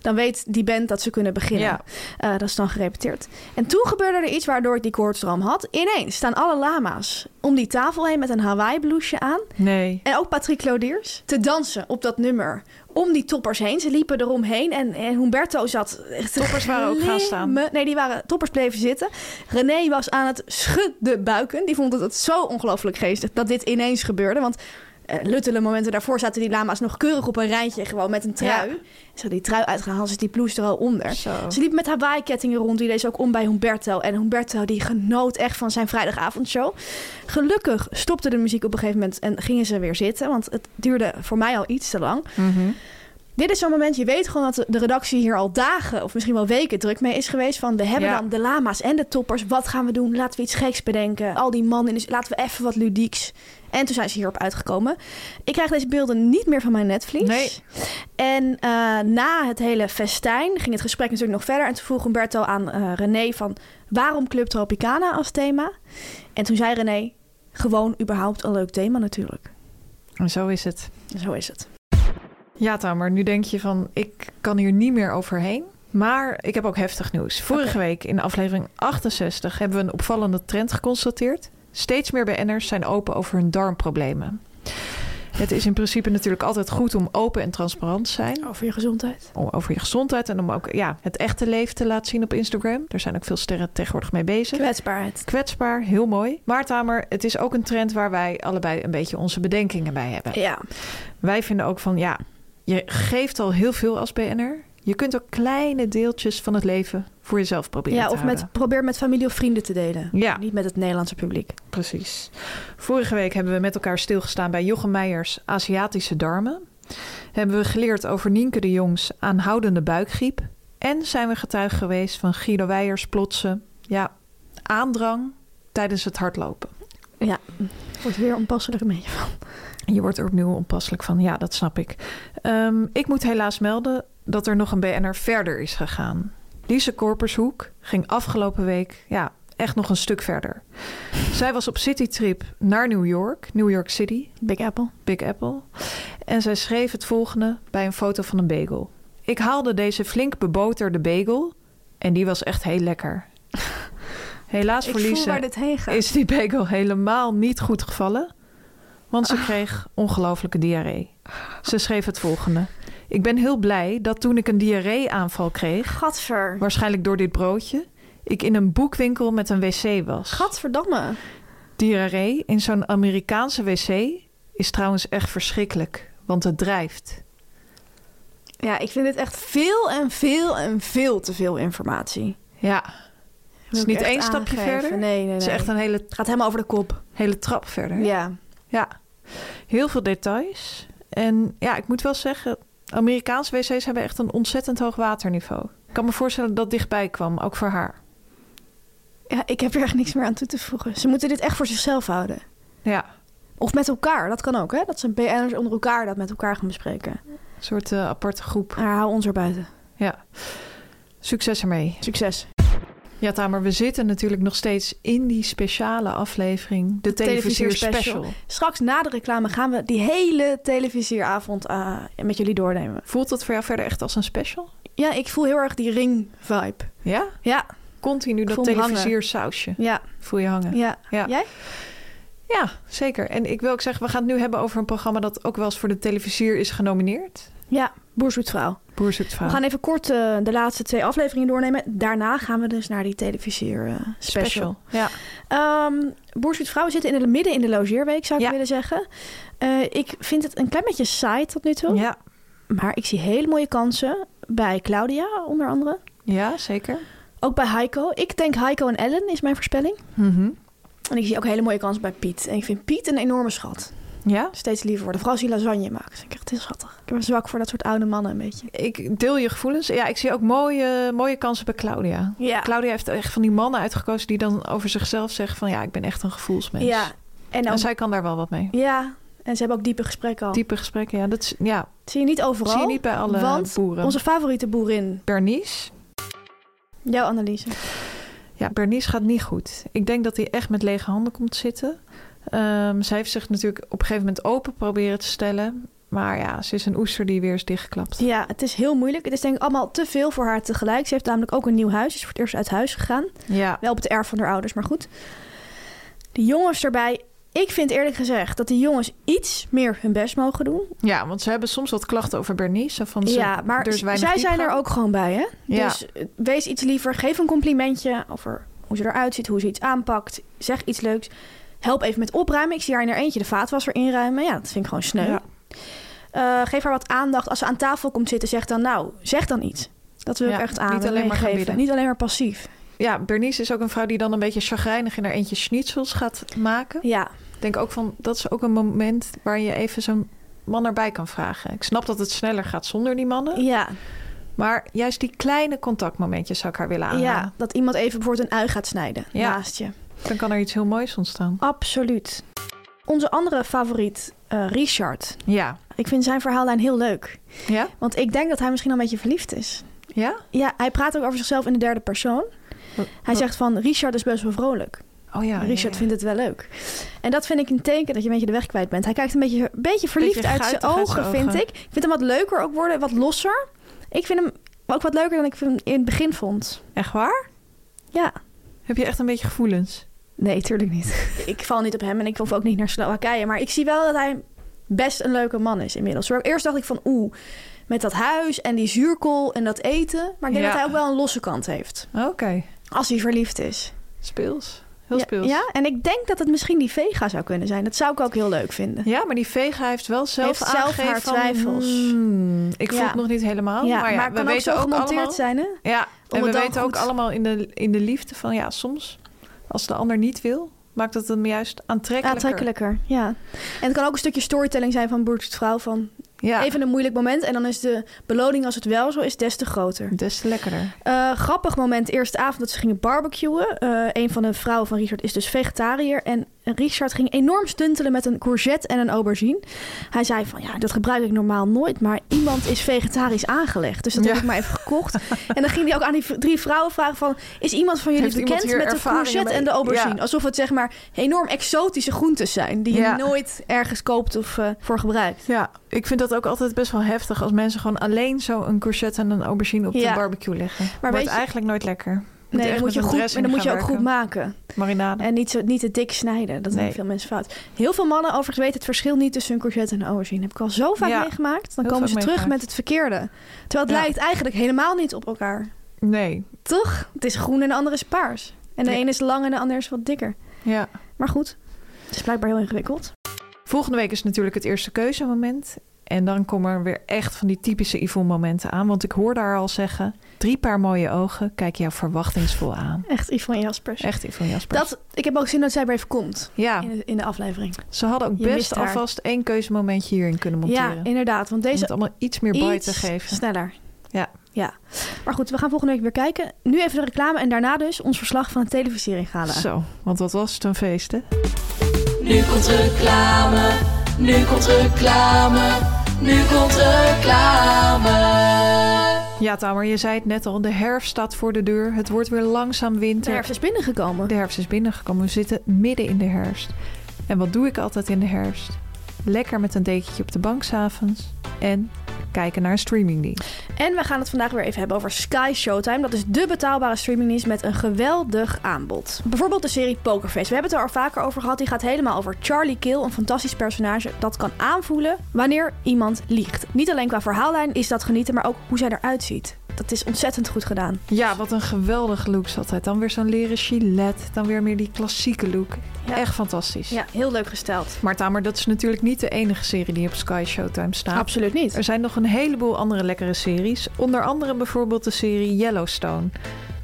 S2: Dan weet die band dat ze kunnen beginnen.
S1: Ja.
S2: Eh, dat is dan gerepeteerd. En toen gebeurde er iets waardoor ik die koortsdroom had. Ineens staan alle lama's om die tafel heen met een Hawaii-bloesje aan.
S1: Nee.
S2: En ook Patrick Lodiers. Te dansen op dat nummer. Om die toppers heen. Ze liepen eromheen. En, en Humberto zat... echt te
S1: Toppers waren ook gaan staan.
S2: glimmen. Nee, die waren, toppers bleven zitten. René was aan het schudden buiken. Die vond het, het zo ongelooflijk geestig dat dit ineens gebeurde. Want eh, luttele momenten daarvoor zaten die lama's nog keurig op een rijtje. Gewoon met een trui.
S1: Ja.
S2: Ze had die trui uitgehaald. Zit die blouse er al onder.
S1: Zo.
S2: Ze liep met Hawaii-kettingen rond. Die deed ze ook om bij Humberto. En Humberto die genoot echt van zijn vrijdagavondshow. Gelukkig stopte de muziek op een gegeven moment en gingen ze weer zitten. Want het duurde voor mij al iets te lang.
S1: Mhm.
S2: Dit is zo'n moment, je weet gewoon dat de- de redactie hier al dagen of misschien wel weken druk mee is geweest. Van we hebben
S1: Ja.
S2: dan de lama's en de toppers. Wat gaan we doen? Laten we iets geks bedenken. Al die mannen, in de- laten we even wat ludieks. En toen zijn ze hierop uitgekomen. Ik krijg deze beelden niet meer van mijn Netflix.
S1: Nee.
S2: En eh, na het hele festijn ging het gesprek natuurlijk nog verder. En toen vroeg Humberto aan eh, René van... waarom Club Tropicana als thema? En toen zei René... gewoon überhaupt een leuk thema natuurlijk.
S1: En zo is het.
S2: En Zo is het.
S1: Ja, Tamer, nu denk je van ik kan hier niet meer overheen. Maar ik heb ook heftig nieuws. Vorige week in aflevering 68 hebben we een opvallende trend geconstateerd. Steeds meer BN'ers zijn open over hun darmproblemen. Het is in principe natuurlijk altijd goed om open en transparant te zijn.
S2: Over je gezondheid.
S1: Om over je gezondheid en om ook ja, het echte leven te laten zien op Instagram. Daar zijn ook veel sterren tegenwoordig mee bezig.
S2: Kwetsbaarheid.
S1: Kwetsbaar, heel mooi. Maar Tamer, het is ook een trend waar wij allebei een beetje onze bedenkingen bij hebben.
S2: Ja.
S1: Wij vinden ook van ja, je geeft al heel veel als BNR. Je kunt ook kleine deeltjes van het leven voor jezelf proberen
S2: ja
S1: te
S2: of
S1: houden.
S2: met, probeer met familie of vrienden te delen.
S1: Ja,
S2: Niet met het Nederlandse publiek.
S1: precies. Vorige week hebben we met elkaar stilgestaan bij Jochem Meijers Aziatische darmen. Hebben we geleerd over Nienke de Jongs aanhoudende buikgriep. En zijn we getuige geweest van Guido Weijers plotse ja, aandrang tijdens het hardlopen.
S2: Wordt weer onpasselijk een beetje.
S1: Je wordt er opnieuw onpasselijk van. Ja, dat snap ik. Ehm, ik moet helaas melden dat er nog een BNR verder is gegaan. Lise Korpershoek ging afgelopen week ja, echt nog een stuk verder. Zij was op citytrip naar New York, New York City,
S2: Big Apple.
S1: Big Apple. En zij schreef het volgende bij een foto van een bagel. Ik haalde deze flink beboterde bagel en die was echt heel lekker. Helaas voor Lise
S2: dit heen gaat.
S1: is die bagel helemaal niet goed gevallen. Want
S2: Ah.
S1: ze kreeg ongelooflijke diarree. Ze schreef het volgende. Ik ben heel blij dat toen ik een diarreeaanval kreeg,
S2: Gadver.
S1: waarschijnlijk door dit broodje, ik in een boekwinkel met een wc was.
S2: Gadverdamme.
S1: Diarree in zo'n Amerikaanse wc is trouwens echt verschrikkelijk, want het drijft.
S2: Ja, ik vind dit echt veel en veel en veel te veel informatie.
S1: Ja, het is
S2: Wil ik
S1: niet
S2: echt
S1: één stapje
S2: aangeven.
S1: verder.
S2: Nee, nee, nee.
S1: Het is echt een hele,
S2: Het gaat helemaal over de kop.
S1: hele trap verder.
S2: Ja.
S1: Ja, heel veel details. En ja, ik moet wel zeggen, Amerikaanse wc's hebben echt een ontzettend hoog waterniveau. Ik kan me voorstellen dat dichtbij kwam, ook voor haar.
S2: ja. Ik heb er echt niks meer aan toe te voegen. Ze moeten dit echt voor zichzelf houden.
S1: Ja,
S2: Of met elkaar, dat kan ook, hè? Dat ze BN'ers onder elkaar dat met elkaar gaan bespreken.
S1: een soort eh, aparte groep.
S2: Maar hou ons er buiten.
S1: Ja. Succes ermee.
S2: Succes.
S1: Ja, Tamer, we zitten natuurlijk nog steeds in die speciale aflevering, de, televisier
S2: televisierspecial.
S1: special.
S2: Straks na de reclame gaan we die hele televisieravond eh, met jullie doornemen.
S1: Voelt dat voor jou verder echt als een special?
S2: Ja, ik voel heel erg die ring-vibe.
S1: Ja?
S2: Ja,
S1: Continu dat
S2: voel me hangen.
S1: televisiersausje.
S2: ja,
S1: Voel je hangen.
S2: ja.
S1: Ja.
S2: Jij?
S1: Ja, zeker. En ik wil ook zeggen, we gaan het nu hebben over een programma dat ook wel eens voor de televisier is genomineerd.
S2: Ja, Boer Zoekt Vrouw.
S1: Boer zoekt
S2: We
S1: vrouw.
S2: gaan even kort eh, de laatste twee afleveringen doornemen. Daarna gaan we dus naar die televisier eh, special.
S1: Ja.
S2: Ehm Boer Zoekt Vrouw we zitten in de, midden in de logeerweek, zou ik
S1: Ja.
S2: willen zeggen. Eh, ik vind het een klein beetje saai tot nu toe.
S1: ja.
S2: Maar ik zie hele mooie kansen bij Claudia, onder andere.
S1: Ja, zeker.
S2: Ook bij Heiko. Ik denk Heiko en Ellen is mijn voorspelling. En ik zie ook hele mooie kansen bij Piet. En ik vind Piet een enorme schat.
S1: Ja.
S2: Steeds liever worden. Vooral als hij lasagne maakt. Vind ik echt heel schattig. Ik ben zwak voor dat soort oude mannen een beetje.
S1: Ik deel je gevoelens. Ja, ik zie ook mooie, mooie kansen bij Claudia.
S2: Ja.
S1: Claudia heeft echt van die mannen uitgekozen die dan over zichzelf zeggen van ja, ik ben echt een gevoelsmens.
S2: Ja. En
S1: En
S2: ook
S1: zij kan daar wel wat mee.
S2: Ja, En ze hebben ook diepe gesprekken al.
S1: Diepe gesprekken, ja. Dat is, ja,
S2: Dat zie je niet overal.
S1: zie je niet bij alle
S2: want
S1: boeren.
S2: onze favoriete boerin,
S1: Bernice,
S2: jouw analyse.
S1: ja, Bernice gaat niet goed. Ik denk dat hij echt met lege handen komt zitten. Ehm, zij heeft zich natuurlijk op een gegeven moment open proberen te stellen. Maar ja, ze is een oester die weer is dichtgeklapt.
S2: Ja, het is heel moeilijk. Het is denk ik allemaal te veel voor haar tegelijk. Ze heeft namelijk ook een nieuw huis. dus Ze is voor het eerst uit huis gegaan.
S1: Ja,
S2: Wel op het erf van haar ouders, maar goed. De jongens erbij. Ik vind eerlijk gezegd dat die jongens iets meer hun best mogen doen.
S1: ja want ze hebben soms wat klachten over Bernice. zo Van ze,
S2: ja, maar
S1: er is weinig
S2: zij zijn er
S1: diepgang.
S2: ook gewoon bij, hè?
S1: Ja.
S2: Dus eh, wees iets liever. Geef een complimentje over hoe ze eruit ziet, hoe ze iets aanpakt. Zeg iets leuks. Help even met opruimen. Ik zie haar in haar eentje de vaatwasser inruimen. Ja, dat vind ik gewoon sneu.
S1: Ja.
S2: Eh, geef haar wat aandacht. Als ze aan tafel komt zitten, zeg dan nou, zeg dan iets. Dat wil ik
S1: Ja,
S2: echt aan.
S1: niet
S2: en
S1: alleen maar gaan
S2: meegeven.
S1: bieden.
S2: Niet alleen maar passief.
S1: Ja, Bernice is ook een vrouw die dan een beetje chagrijnig in haar eentje schnitzels gaat maken.
S2: Ja,
S1: Ik denk ook van, dat is ook een moment waar je even zo'n man erbij kan vragen. Ik snap dat het sneller gaat zonder die mannen.
S2: ja,
S1: Maar juist die kleine contactmomentjes zou ik haar willen
S2: ja.
S1: aanhalen.
S2: Dat iemand even bijvoorbeeld een ui gaat snijden
S1: Ah. Ja.
S2: naast je.
S1: Dan kan er iets heel moois ontstaan.
S2: Absoluut. Onze andere favoriet, eh, Richard.
S1: Ja.
S2: Ik vind zijn verhaallijn heel leuk.
S1: Ja?
S2: Want ik denk dat hij misschien al een beetje verliefd is.
S1: Ja?
S2: Ja, hij praat ook over zichzelf in de derde persoon. Hij zegt van, Richard is best wel vrolijk.
S1: Oh ja.
S2: Richard
S1: ja, ja.
S2: vindt het wel leuk. En dat vind ik een teken dat je een beetje de weg kwijt bent. Hij kijkt een beetje, een beetje verliefd
S1: Beetje
S2: uit zijn
S1: guitig uit
S2: ogen,
S1: zijn
S2: vind
S1: ogen.
S2: ik. Ik vind hem wat leuker ook worden, wat losser. Ik vind hem ook wat leuker dan ik hem in het begin vond.
S1: Echt waar?
S2: Ja.
S1: Heb je echt een beetje gevoelens?
S2: Nee, tuurlijk niet. ik val niet op hem en ik hoef ook niet naar Slowakije. Maar ik zie wel dat hij best een leuke man is inmiddels. Hoor. Eerst dacht ik van oeh, met dat huis en die zuurkool en dat eten. Maar ik denk
S1: Ja.
S2: dat hij ook wel een losse kant heeft.
S1: Oké.
S2: Als hij verliefd is.
S1: Speels. Heel
S2: Ja,
S1: speels.
S2: Ja, en ik denk dat het misschien die Vega zou kunnen zijn. Dat zou ik ook heel leuk vinden.
S1: Ja, maar die Vega heeft wel zelf
S2: Heeft zelf
S1: aangegeven
S2: haar
S1: van,
S2: twijfels.
S1: hmm, ik voel
S2: Ja.
S1: het nog niet helemaal. maar ja,
S2: maar het
S1: we
S2: kan ook
S1: weten
S2: zo gemonteerd
S1: allemaal,
S2: zijn, hè?
S1: Ja, en
S2: het
S1: we
S2: dan
S1: weten ook
S2: goed-
S1: allemaal in de, in de liefde van ja, soms als de ander niet wil, maakt dat hem juist aantrekkelijker.
S2: Aantrekkelijker, ja. En het kan ook een stukje storytelling zijn van Boert Vrouw. Van
S1: Ja,
S2: even een moeilijk moment. En dan is de beloning, als het wel zo is, des te groter.
S1: des te lekkerder.
S2: Eh, grappig moment, eerste avond dat ze gingen barbecuen. Eh, een van de vrouwen van Richard is dus vegetariër. En Richard ging enorm stuntelen met een courgette en een aubergine. Hij zei van, ja, dat gebruik ik normaal nooit. Maar iemand is vegetarisch aangelegd. Dus dat heb
S1: Ja.
S2: ik maar even gekocht. en dan ging hij ook aan die v- drie vrouwen vragen van... is iemand van jullie
S1: Heeft iemand
S2: bekend
S1: hier
S2: met de
S1: ervaringen
S2: courgette
S1: mee?
S2: en de aubergine?
S1: Ja.
S2: Alsof het zeg maar enorm exotische groentes zijn... die je
S1: Ja.
S2: nooit ergens koopt of eh, voor gebruikt.
S1: Ja, ik vind dat ook altijd best wel heftig als mensen gewoon alleen zo een courgette en een aubergine op
S2: Ja.
S1: de barbecue leggen. Maar Wordt
S2: weet je-
S1: eigenlijk nooit lekker.
S2: Nee,
S1: echt
S2: dan moet
S1: met
S2: je,
S1: een
S2: goed,
S1: dressing
S2: dan moet
S1: gaan
S2: je ook goed
S1: werken.
S2: maken.
S1: Marinade.
S2: En niet, zo, niet te dik snijden. Dat doen
S1: Nee.
S2: veel mensen fout. Heel veel mannen overigens weten het verschil niet tussen een courgette en een aubergine. Heb ik al zo vaak
S1: Ja,
S2: meegemaakt. Dan
S1: heel
S2: komen ze
S1: vaak
S2: terug met
S1: meegemaakt.
S2: het verkeerde. Terwijl het
S1: Ja.
S2: lijkt eigenlijk helemaal niet op elkaar.
S1: Nee,
S2: Toch? Het is groen en de andere is paars. En de
S1: Ja.
S2: een is lang en de ander is wat dikker.
S1: ja.
S2: Maar goed, het is blijkbaar heel ingewikkeld.
S1: Volgende week is natuurlijk het eerste keuzemoment. En dan komen er weer echt van die typische Yvonne momenten aan. Want ik hoorde haar al zeggen, drie paar mooie ogen, kijk jou verwachtingsvol aan.
S2: Echt Yvonne Jaspers.
S1: Echt Yvonne Jasper.
S2: Dat, ik heb ook zin dat zij weer even komt
S1: ja,
S2: in de, in de aflevering.
S1: ze hadden ook
S2: Je mist
S1: best
S2: haar.
S1: alvast één keuzemomentje hierin kunnen monteren.
S2: Ja, inderdaad. Want
S1: Om
S2: deze
S1: het allemaal iets meer bite te
S2: iets
S1: geven.
S2: sneller.
S1: Ja.
S2: ja. Maar goed, we gaan volgende week weer kijken. Nu even de reclame en daarna dus ons verslag van de televisiering halen.
S1: Zo, want wat was het een feest, hè?
S3: Nu komt reclame, nu komt reclame, nu komt reclame.
S1: Ja, Tamer, je zei het net al. De herfst staat voor de deur. Het wordt weer langzaam
S2: De
S1: winter.
S2: herfst is binnengekomen.
S1: De herfst is binnengekomen. We zitten midden in de herfst. En wat doe ik altijd in de herfst? Lekker met een dekentje op de bank s'avonds. En kijken naar een streamingdienst.
S2: En we gaan het vandaag weer even hebben over Sky Showtime. Dat is de betaalbare streamingdienst met een geweldig aanbod. Bijvoorbeeld de serie Pokerface. We hebben het er al vaker over gehad. Die gaat helemaal over Charlie Kill, een fantastisch personage dat kan aanvoelen wanneer iemand liegt. Niet alleen qua verhaallijn is dat genieten, maar ook hoe zij eruit ziet. Dat is ontzettend goed gedaan.
S1: Ja, wat een geweldige look zat het. Dan weer zo'n leren gilet. Dan weer meer die klassieke look.
S2: Ja.
S1: Echt fantastisch.
S2: Ja, heel leuk gesteld.
S1: Maar Tamer, dat is natuurlijk niet de enige serie die op Sky Showtime staat.
S2: Absoluut niet.
S1: Er zijn nog een heleboel andere lekkere series. Onder andere bijvoorbeeld de serie Yellowstone.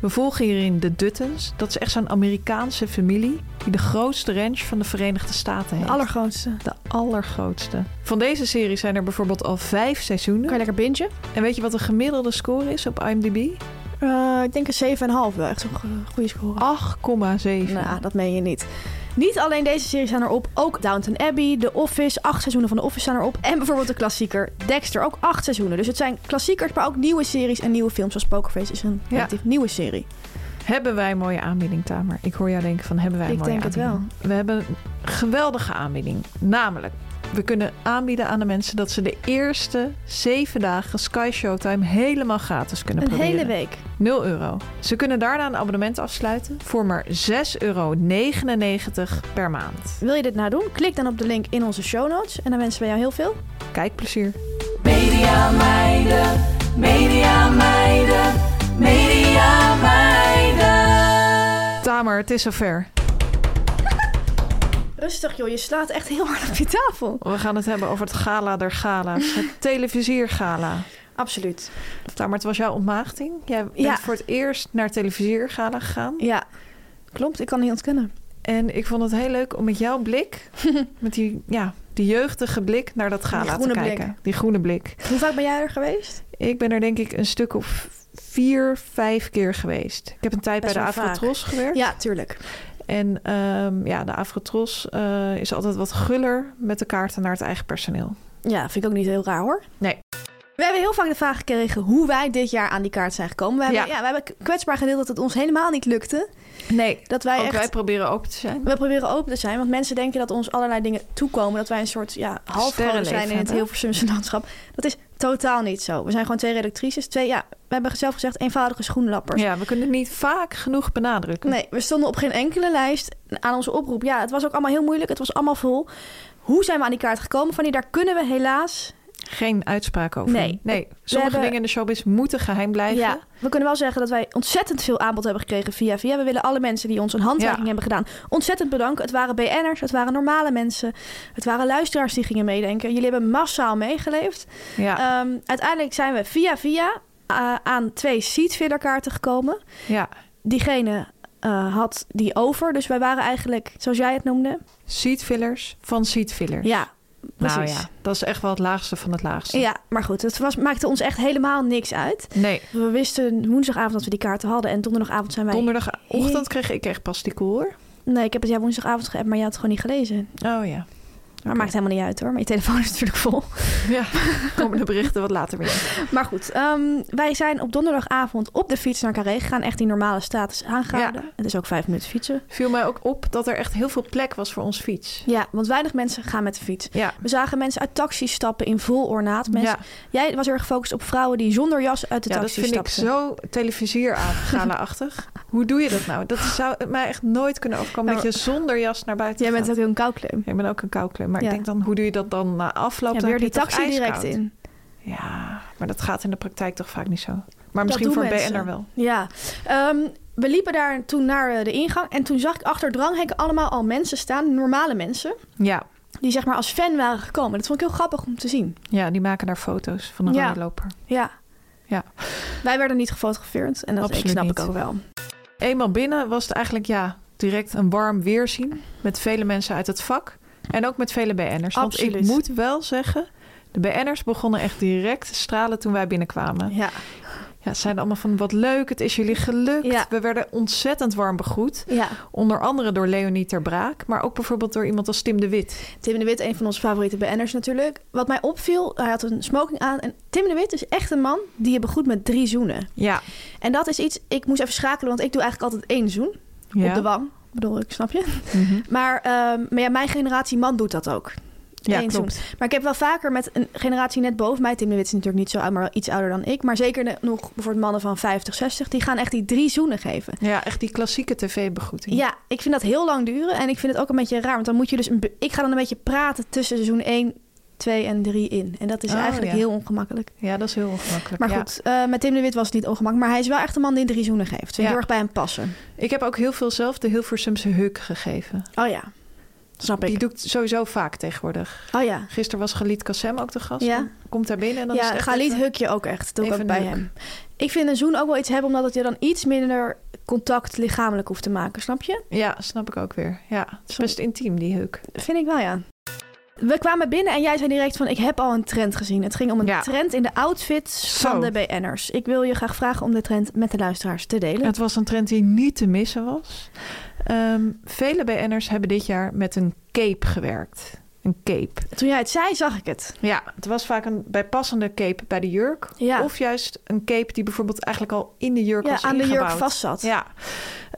S1: We volgen hierin de Duttons. Dat is echt zo'n Amerikaanse familie die de grootste ranch van de Verenigde Staten
S2: De
S1: heeft.
S2: allergrootste.
S1: De allergrootste. Van deze serie zijn er bijvoorbeeld al vijf
S2: Kan
S1: seizoenen.
S2: je lekker bingen?
S1: En weet je wat de gemiddelde score is op IMDb? 8,7.
S2: Eh, ik denk een 7,5 wel. Echt zo'n go- goede score.
S1: Nou,
S2: Nou, dat meen je niet. Niet alleen deze series staan erop, ook Downton Abbey, The Office, acht seizoenen van The Office staan erop. En bijvoorbeeld de klassieker Dexter, ook acht seizoenen. Dus het zijn klassiekers, maar ook nieuwe series en nieuwe films. Zoals Pokerface is een
S1: Ja.
S2: relatief nieuwe serie.
S1: Hebben wij een mooie aanbieding, Tamer? Ik hoor jou denken van, hebben wij een
S2: Ik
S1: mooie
S2: denk het
S1: aanbieding? We hebben een geweldige aanbieding. Namelijk, we kunnen aanbieden aan de mensen... dat ze de eerste zeven dagen Sky Showtime helemaal gratis kunnen
S2: Een
S1: proberen.
S2: hele week.
S1: 0 euro. Ze kunnen daarna een abonnement afsluiten voor maar 6,99 euro per maand.
S2: Wil je dit nou doen? Klik dan op de link in onze show notes. En dan wensen we jou heel veel
S1: Kijkplezier.
S3: Media meiden, media meiden, media meiden.
S1: Tamer, het is zover.
S2: Rustig joh, je slaat echt heel hard op je tafel.
S1: We gaan het hebben over het gala der gala's. Het televisiergala.
S2: Absoluut.
S1: Tamer, het was jouw ontmaagding. Jij bent
S2: Ja.
S1: voor het eerst naar het televisiergala gegaan.
S2: Ja, klopt. Ik kan niet ontkennen.
S1: En ik vond het heel leuk om met jouw blik... met die, ja, die jeugdige blik naar dat gala te
S2: groene
S1: kijken.
S2: blik.
S1: Die groene blik.
S2: Hoe vaak ben jij er geweest?
S1: Ik ben er denk ik een stuk of vier, vijf keer geweest. Ik heb een tijd
S2: Best
S1: bij de
S2: wel vaak.
S1: Avrotros gewerkt.
S2: Ja, tuurlijk.
S1: En ehm, ja, de Avrotros eh, is altijd wat guller met de kaarten naar het eigen personeel.
S2: Ja, vind ik ook niet heel raar hoor.
S1: Nee.
S2: We hebben heel vaak de vraag gekregen hoe wij dit jaar aan die kaart zijn gekomen. We hebben, ja.
S1: Ja.
S2: we hebben kwetsbaar gedeeld dat het ons helemaal niet lukte.
S1: Nee,
S2: Dat wij
S1: ook
S2: echt...
S1: wij proberen open te zijn.
S2: We proberen open te zijn, want mensen denken dat ons allerlei dingen toekomen. Dat wij een soort ja, halfgoden
S1: Sterrenleven
S2: zijn in het
S1: hebben.
S2: Hilversumse landschap. Dat is totaal niet zo. We zijn gewoon twee redactrices. Twee, ja, we hebben zelf gezegd eenvoudige schoenlappers.
S1: Ja, we kunnen het niet vaak genoeg benadrukken.
S2: Nee, we stonden op geen enkele lijst aan onze oproep. Ja, het was ook allemaal heel moeilijk. Het was allemaal vol. Hoe zijn we aan die kaart gekomen? Van die, daar kunnen we helaas.
S1: Geen uitspraak over.
S2: Nee.
S1: nee. Sommige
S2: hebben-
S1: dingen in de showbiz moeten geheim blijven.
S2: Ja, we kunnen wel zeggen dat wij ontzettend veel aanbod hebben gekregen via via. We willen alle mensen die ons een handreiking
S1: Ja.
S2: hebben gedaan ontzettend bedanken. Het waren BN'ers, het waren normale mensen, het waren luisteraars die gingen meedenken. Jullie hebben massaal meegeleefd.
S1: Ja,
S2: Ehm, uiteindelijk zijn we via via eh, aan twee seatfillerkaarten gekomen.
S1: ja.
S2: Diegene eh, had die over, dus wij waren eigenlijk, zoals jij het noemde,
S1: Seatfillers van seatfillers.
S2: ja, precies.
S1: nou ja, dat is echt wel het laagste van het laagste.
S2: Ja, maar goed, het was, maakte ons echt helemaal niks uit.
S1: Nee,
S2: We wisten woensdagavond dat we die kaarten hadden en donderdagavond zijn wij...
S1: donderdagochtend kreeg ik echt pas die koel hoor.
S2: Nee, ik heb het jou woensdagavond geappt, maar je had het gewoon niet gelezen.
S1: Oh ja.
S2: Maar maakt helemaal niet uit hoor, maar je telefoon is natuurlijk vol.
S1: Ja, komen de berichten wat later weer.
S2: Maar goed, ehm, wij zijn op donderdagavond op de fiets naar Carré gegaan. Echt die normale status aangehouden.
S1: Ja.
S2: Het is ook vijf minuten fietsen.
S1: Viel mij ook op dat er echt heel veel plek was voor ons fiets.
S2: Ja, want weinig mensen gaan met de fiets.
S1: Ja.
S2: We zagen mensen uit taxis stappen in vol ornaat. Mensen,
S1: Ja,
S2: Jij was erg gefocust op vrouwen die zonder jas uit de
S1: ja, dat
S2: taxi
S1: vind ik
S2: stapten.
S1: zo televisier-achtig. Hoe doe je dat nou? Dat zou mij echt nooit kunnen overkomen
S2: Nou,
S1: dat je zonder jas naar buiten
S2: Jij bent
S1: gaat.
S2: ook een kouklem.
S1: Ik ben ook een kouklem, maar
S2: Ja.
S1: ik denk dan, hoe doe je dat dan na afloop?
S2: Ja,
S1: Dan
S2: weer
S1: heb
S2: die
S1: je toch
S2: taxi direct
S1: ijskoud.
S2: in.
S1: Ja, maar dat gaat in de praktijk toch vaak niet zo. Maar misschien
S2: doen
S1: voor
S2: mensen.
S1: BN'er wel.
S2: Ja, ehm, we liepen daar toen naar eh, de ingang. En toen zag ik achter dranghekken allemaal al mensen staan. Normale mensen.
S1: Ja.
S2: die zeg maar als fan waren gekomen. Dat vond ik heel grappig om te zien.
S1: ja, die maken daar foto's van een
S2: Ja.
S1: rode loper.
S2: Ja.
S1: Ja.
S2: Wij werden niet gefotografeerd en dat
S1: Absoluut
S2: ik snap ik
S1: niet.
S2: ook wel.
S1: Eenmaal binnen was het eigenlijk ja, direct een warm weerzien. Met vele mensen uit het vak. En ook met vele BN'ers. Want ik
S2: Absoluut.
S1: moet wel zeggen, de BN'ers begonnen echt direct te stralen toen wij binnenkwamen.
S2: Ja.
S1: Ja, ze zeiden allemaal van wat leuk, het is jullie gelukt.
S2: Ja.
S1: We werden ontzettend warm begroet.
S2: ja.
S1: Onder andere door Leonie Ter Braak. Maar ook bijvoorbeeld door iemand als Tim de Wit.
S2: Tim de Wit, een van onze favoriete BN'ers natuurlijk. Wat mij opviel, hij had een smoking aan. En Tim de Wit is echt een man die je begroet met drie zoenen.
S1: Ja.
S2: En dat is iets, ik moest even schakelen, want ik doe eigenlijk altijd één zoen
S1: ja.
S2: op de wang. Ik bedoel, ik snap je.
S1: Mhm.
S2: Maar, ehm, maar ja, mijn generatie man doet dat ook.
S1: Ja,
S2: Eén
S1: klopt.
S2: Maar ik heb wel vaker met een generatie net boven mij... Tim de Wit is natuurlijk niet zo oud, maar wel iets ouder dan ik... maar zeker ne- nog bijvoorbeeld mannen van 50, 60... die gaan echt die drie zoenen geven.
S1: Ja, echt die klassieke tv-begroeting.
S2: Ja, ik vind dat heel lang duren. En ik vind het ook een beetje raar. Want dan moet je dus... Een be- ik ga dan een beetje praten tussen seizoen 1, 2 en 3 in. En dat is
S1: Oh,
S2: eigenlijk
S1: ja.
S2: heel ongemakkelijk.
S1: Ja, dat is heel ongemakkelijk.
S2: Maar
S1: ja.
S2: goed, eh, met Tim de Wit was het niet ongemakkelijk. Maar hij is wel echt een man die drie zoenen geeft. Vind ik
S1: Ja.
S2: heel erg bij hem passen.
S1: Ik heb ook heel veel zelf de Hilversumse huk gegeven.
S2: Oh ja, snap
S1: Die
S2: ik.
S1: doe ik sowieso vaak tegenwoordig.
S2: Oh ja.
S1: Gisteren was Galit Kassem ook de gast.
S2: Ja.
S1: Dan Komt daar binnen en dan is
S2: ja,
S1: het echt
S2: Galit
S1: even-
S2: huk je ook echt. Dat doe ik
S1: even
S2: ook bij
S1: een huk.
S2: hem. Ik vind een zoen ook wel iets hebben... omdat het je dan iets minder contact lichamelijk hoeft te maken. Snap je?
S1: Ja, snap ik ook weer. Ja, het is best intiem, die huk.
S2: Vind ik wel, ja. We kwamen binnen en jij zei direct van... ik heb al een trend gezien. Het ging om een
S1: Ja.
S2: trend in de outfits
S1: Zo.
S2: van de BN'ers. Ik wil je graag vragen om de trend met de luisteraars te delen.
S1: Het was een trend die niet te missen was. Ehm, vele BN'ers hebben dit jaar met een cape gewerkt. Een cape.
S2: Toen jij het zei, zag ik het.
S1: Ja, het was vaak een bijpassende cape bij de jurk.
S2: Ja.
S1: Of juist een cape die bijvoorbeeld eigenlijk al in de jurk
S2: Ja,
S1: was
S2: aan de jurk
S1: ingebouwd.
S2: vast zat.
S1: Ja.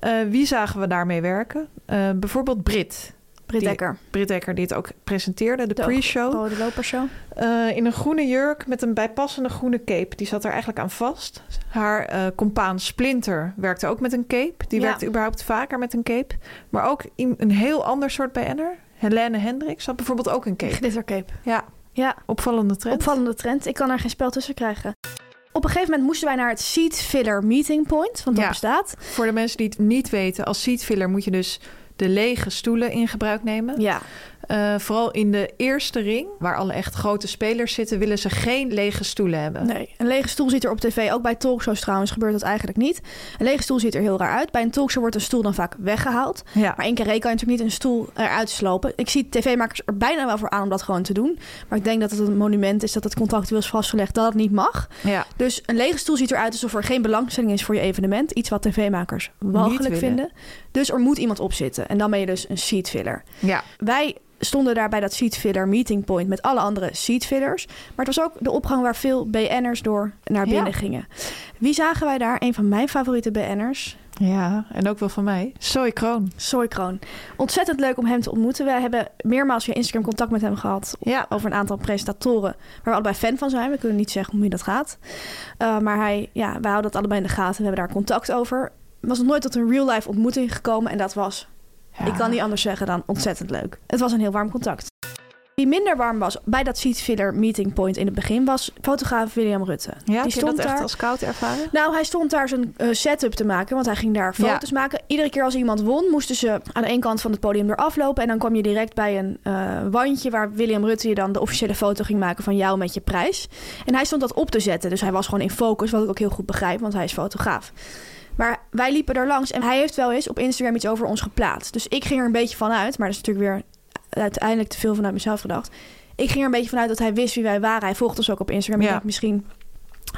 S1: Eh, wie zagen we daarmee werken? Eh, bijvoorbeeld Brit.
S2: Britt
S1: Die-
S2: Dekker.
S1: Brit Dekker die het ook presenteerde, de,
S2: De Oh.
S1: pre-show.
S2: Rode Lopershow.
S1: Eh, in een groene jurk met een bijpassende groene cape. Die zat er eigenlijk aan vast. Haar eh compaan Splinter werkte ook met een cape. Die
S2: Ja.
S1: werkte überhaupt vaker met een cape. Maar ook in een heel ander soort BN'er. Helene Hendricks had bijvoorbeeld ook een cape.
S2: Glittercape.
S1: Ja,
S2: Ja,
S1: opvallende trend.
S2: opvallende trend. Ik kan er geen spel tussen krijgen. Op een gegeven moment moesten wij naar het Seat Filler Meeting Point, want dat
S1: Ja.
S2: bestaat.
S1: Voor de mensen die het niet weten, als seatfiller moet je dus de lege stoelen in gebruik nemen.
S2: Ja,
S1: Eh, vooral in de eerste ring, waar alle echt grote spelers zitten, willen ze geen lege stoelen hebben.
S2: nee. Een lege stoel ziet er op tv, ook bij talkshows trouwens, gebeurt dat eigenlijk niet. Een lege stoel ziet er heel raar uit. Bij een talkshow wordt een stoel dan vaak weggehaald.
S1: Ja.
S2: Maar één keer kan je natuurlijk niet een stoel eruit slopen. Ik zie tv-makers er bijna wel voor aan om dat gewoon te doen. Maar ik denk dat het een monument is, dat het contractueel is vastgelegd dat het niet mag.
S1: ja.
S2: Dus een lege stoel ziet eruit alsof er geen belangstelling is voor je evenement. Iets wat tv-makers walgelijk
S1: willen.
S2: vinden. Dus er moet iemand op zitten. En dan ben je dus een seatfiller.
S1: ja.
S2: Wij stonden daar bij dat seatfiller meeting point met alle andere seatfillers. Maar het was ook de opgang waar veel BN'ers door naar binnen
S1: Ja.
S2: gingen. Wie zagen wij daar? Een van mijn favoriete BN'ers,
S1: Ja, en ook wel van mij. Zoe Kroon.
S2: Soy Kroon. Ontzettend leuk om hem te ontmoeten. We hebben meermaals via Instagram contact met hem gehad
S1: Ja.
S2: over een aantal presentatoren waar we allebei fan van zijn. We kunnen niet zeggen hoe dat gaat. Eh, maar hij, ja, wij houden dat allebei in de gaten. We hebben daar contact over. Was nog nooit tot een real-life ontmoeting gekomen en dat was
S1: Ja.
S2: ik kan niet anders zeggen dan ontzettend leuk. Het was een heel warm contact. Wie minder warm was bij dat seatfiller meeting point in het begin was fotograaf William Rutte.
S1: Ja,
S2: die
S1: heb je dat
S2: stond
S1: echt
S2: daar.
S1: als koud ervaren?
S2: Nou, hij stond daar zijn eh, setup te maken, want hij ging daar
S1: Ja.
S2: foto's maken. Iedere keer als iemand won, moesten ze aan de ene kant van het podium eraf lopen. En dan kwam je direct bij een eh, wandje waar William Rutte je dan de officiële foto ging maken van jou met je prijs. En hij stond dat op te zetten, dus hij was gewoon in focus, wat ik ook heel goed begrijp, want hij is fotograaf. Maar wij liepen er langs en hij heeft wel eens op Instagram iets over ons geplaatst. Dus ik ging er een beetje van uit, maar dat is natuurlijk weer uiteindelijk te veel vanuit mezelf gedacht. Ik ging er een beetje vanuit dat hij wist wie wij waren. Hij volgt ons ook op Instagram. Ik
S1: Ja.
S2: denk misschien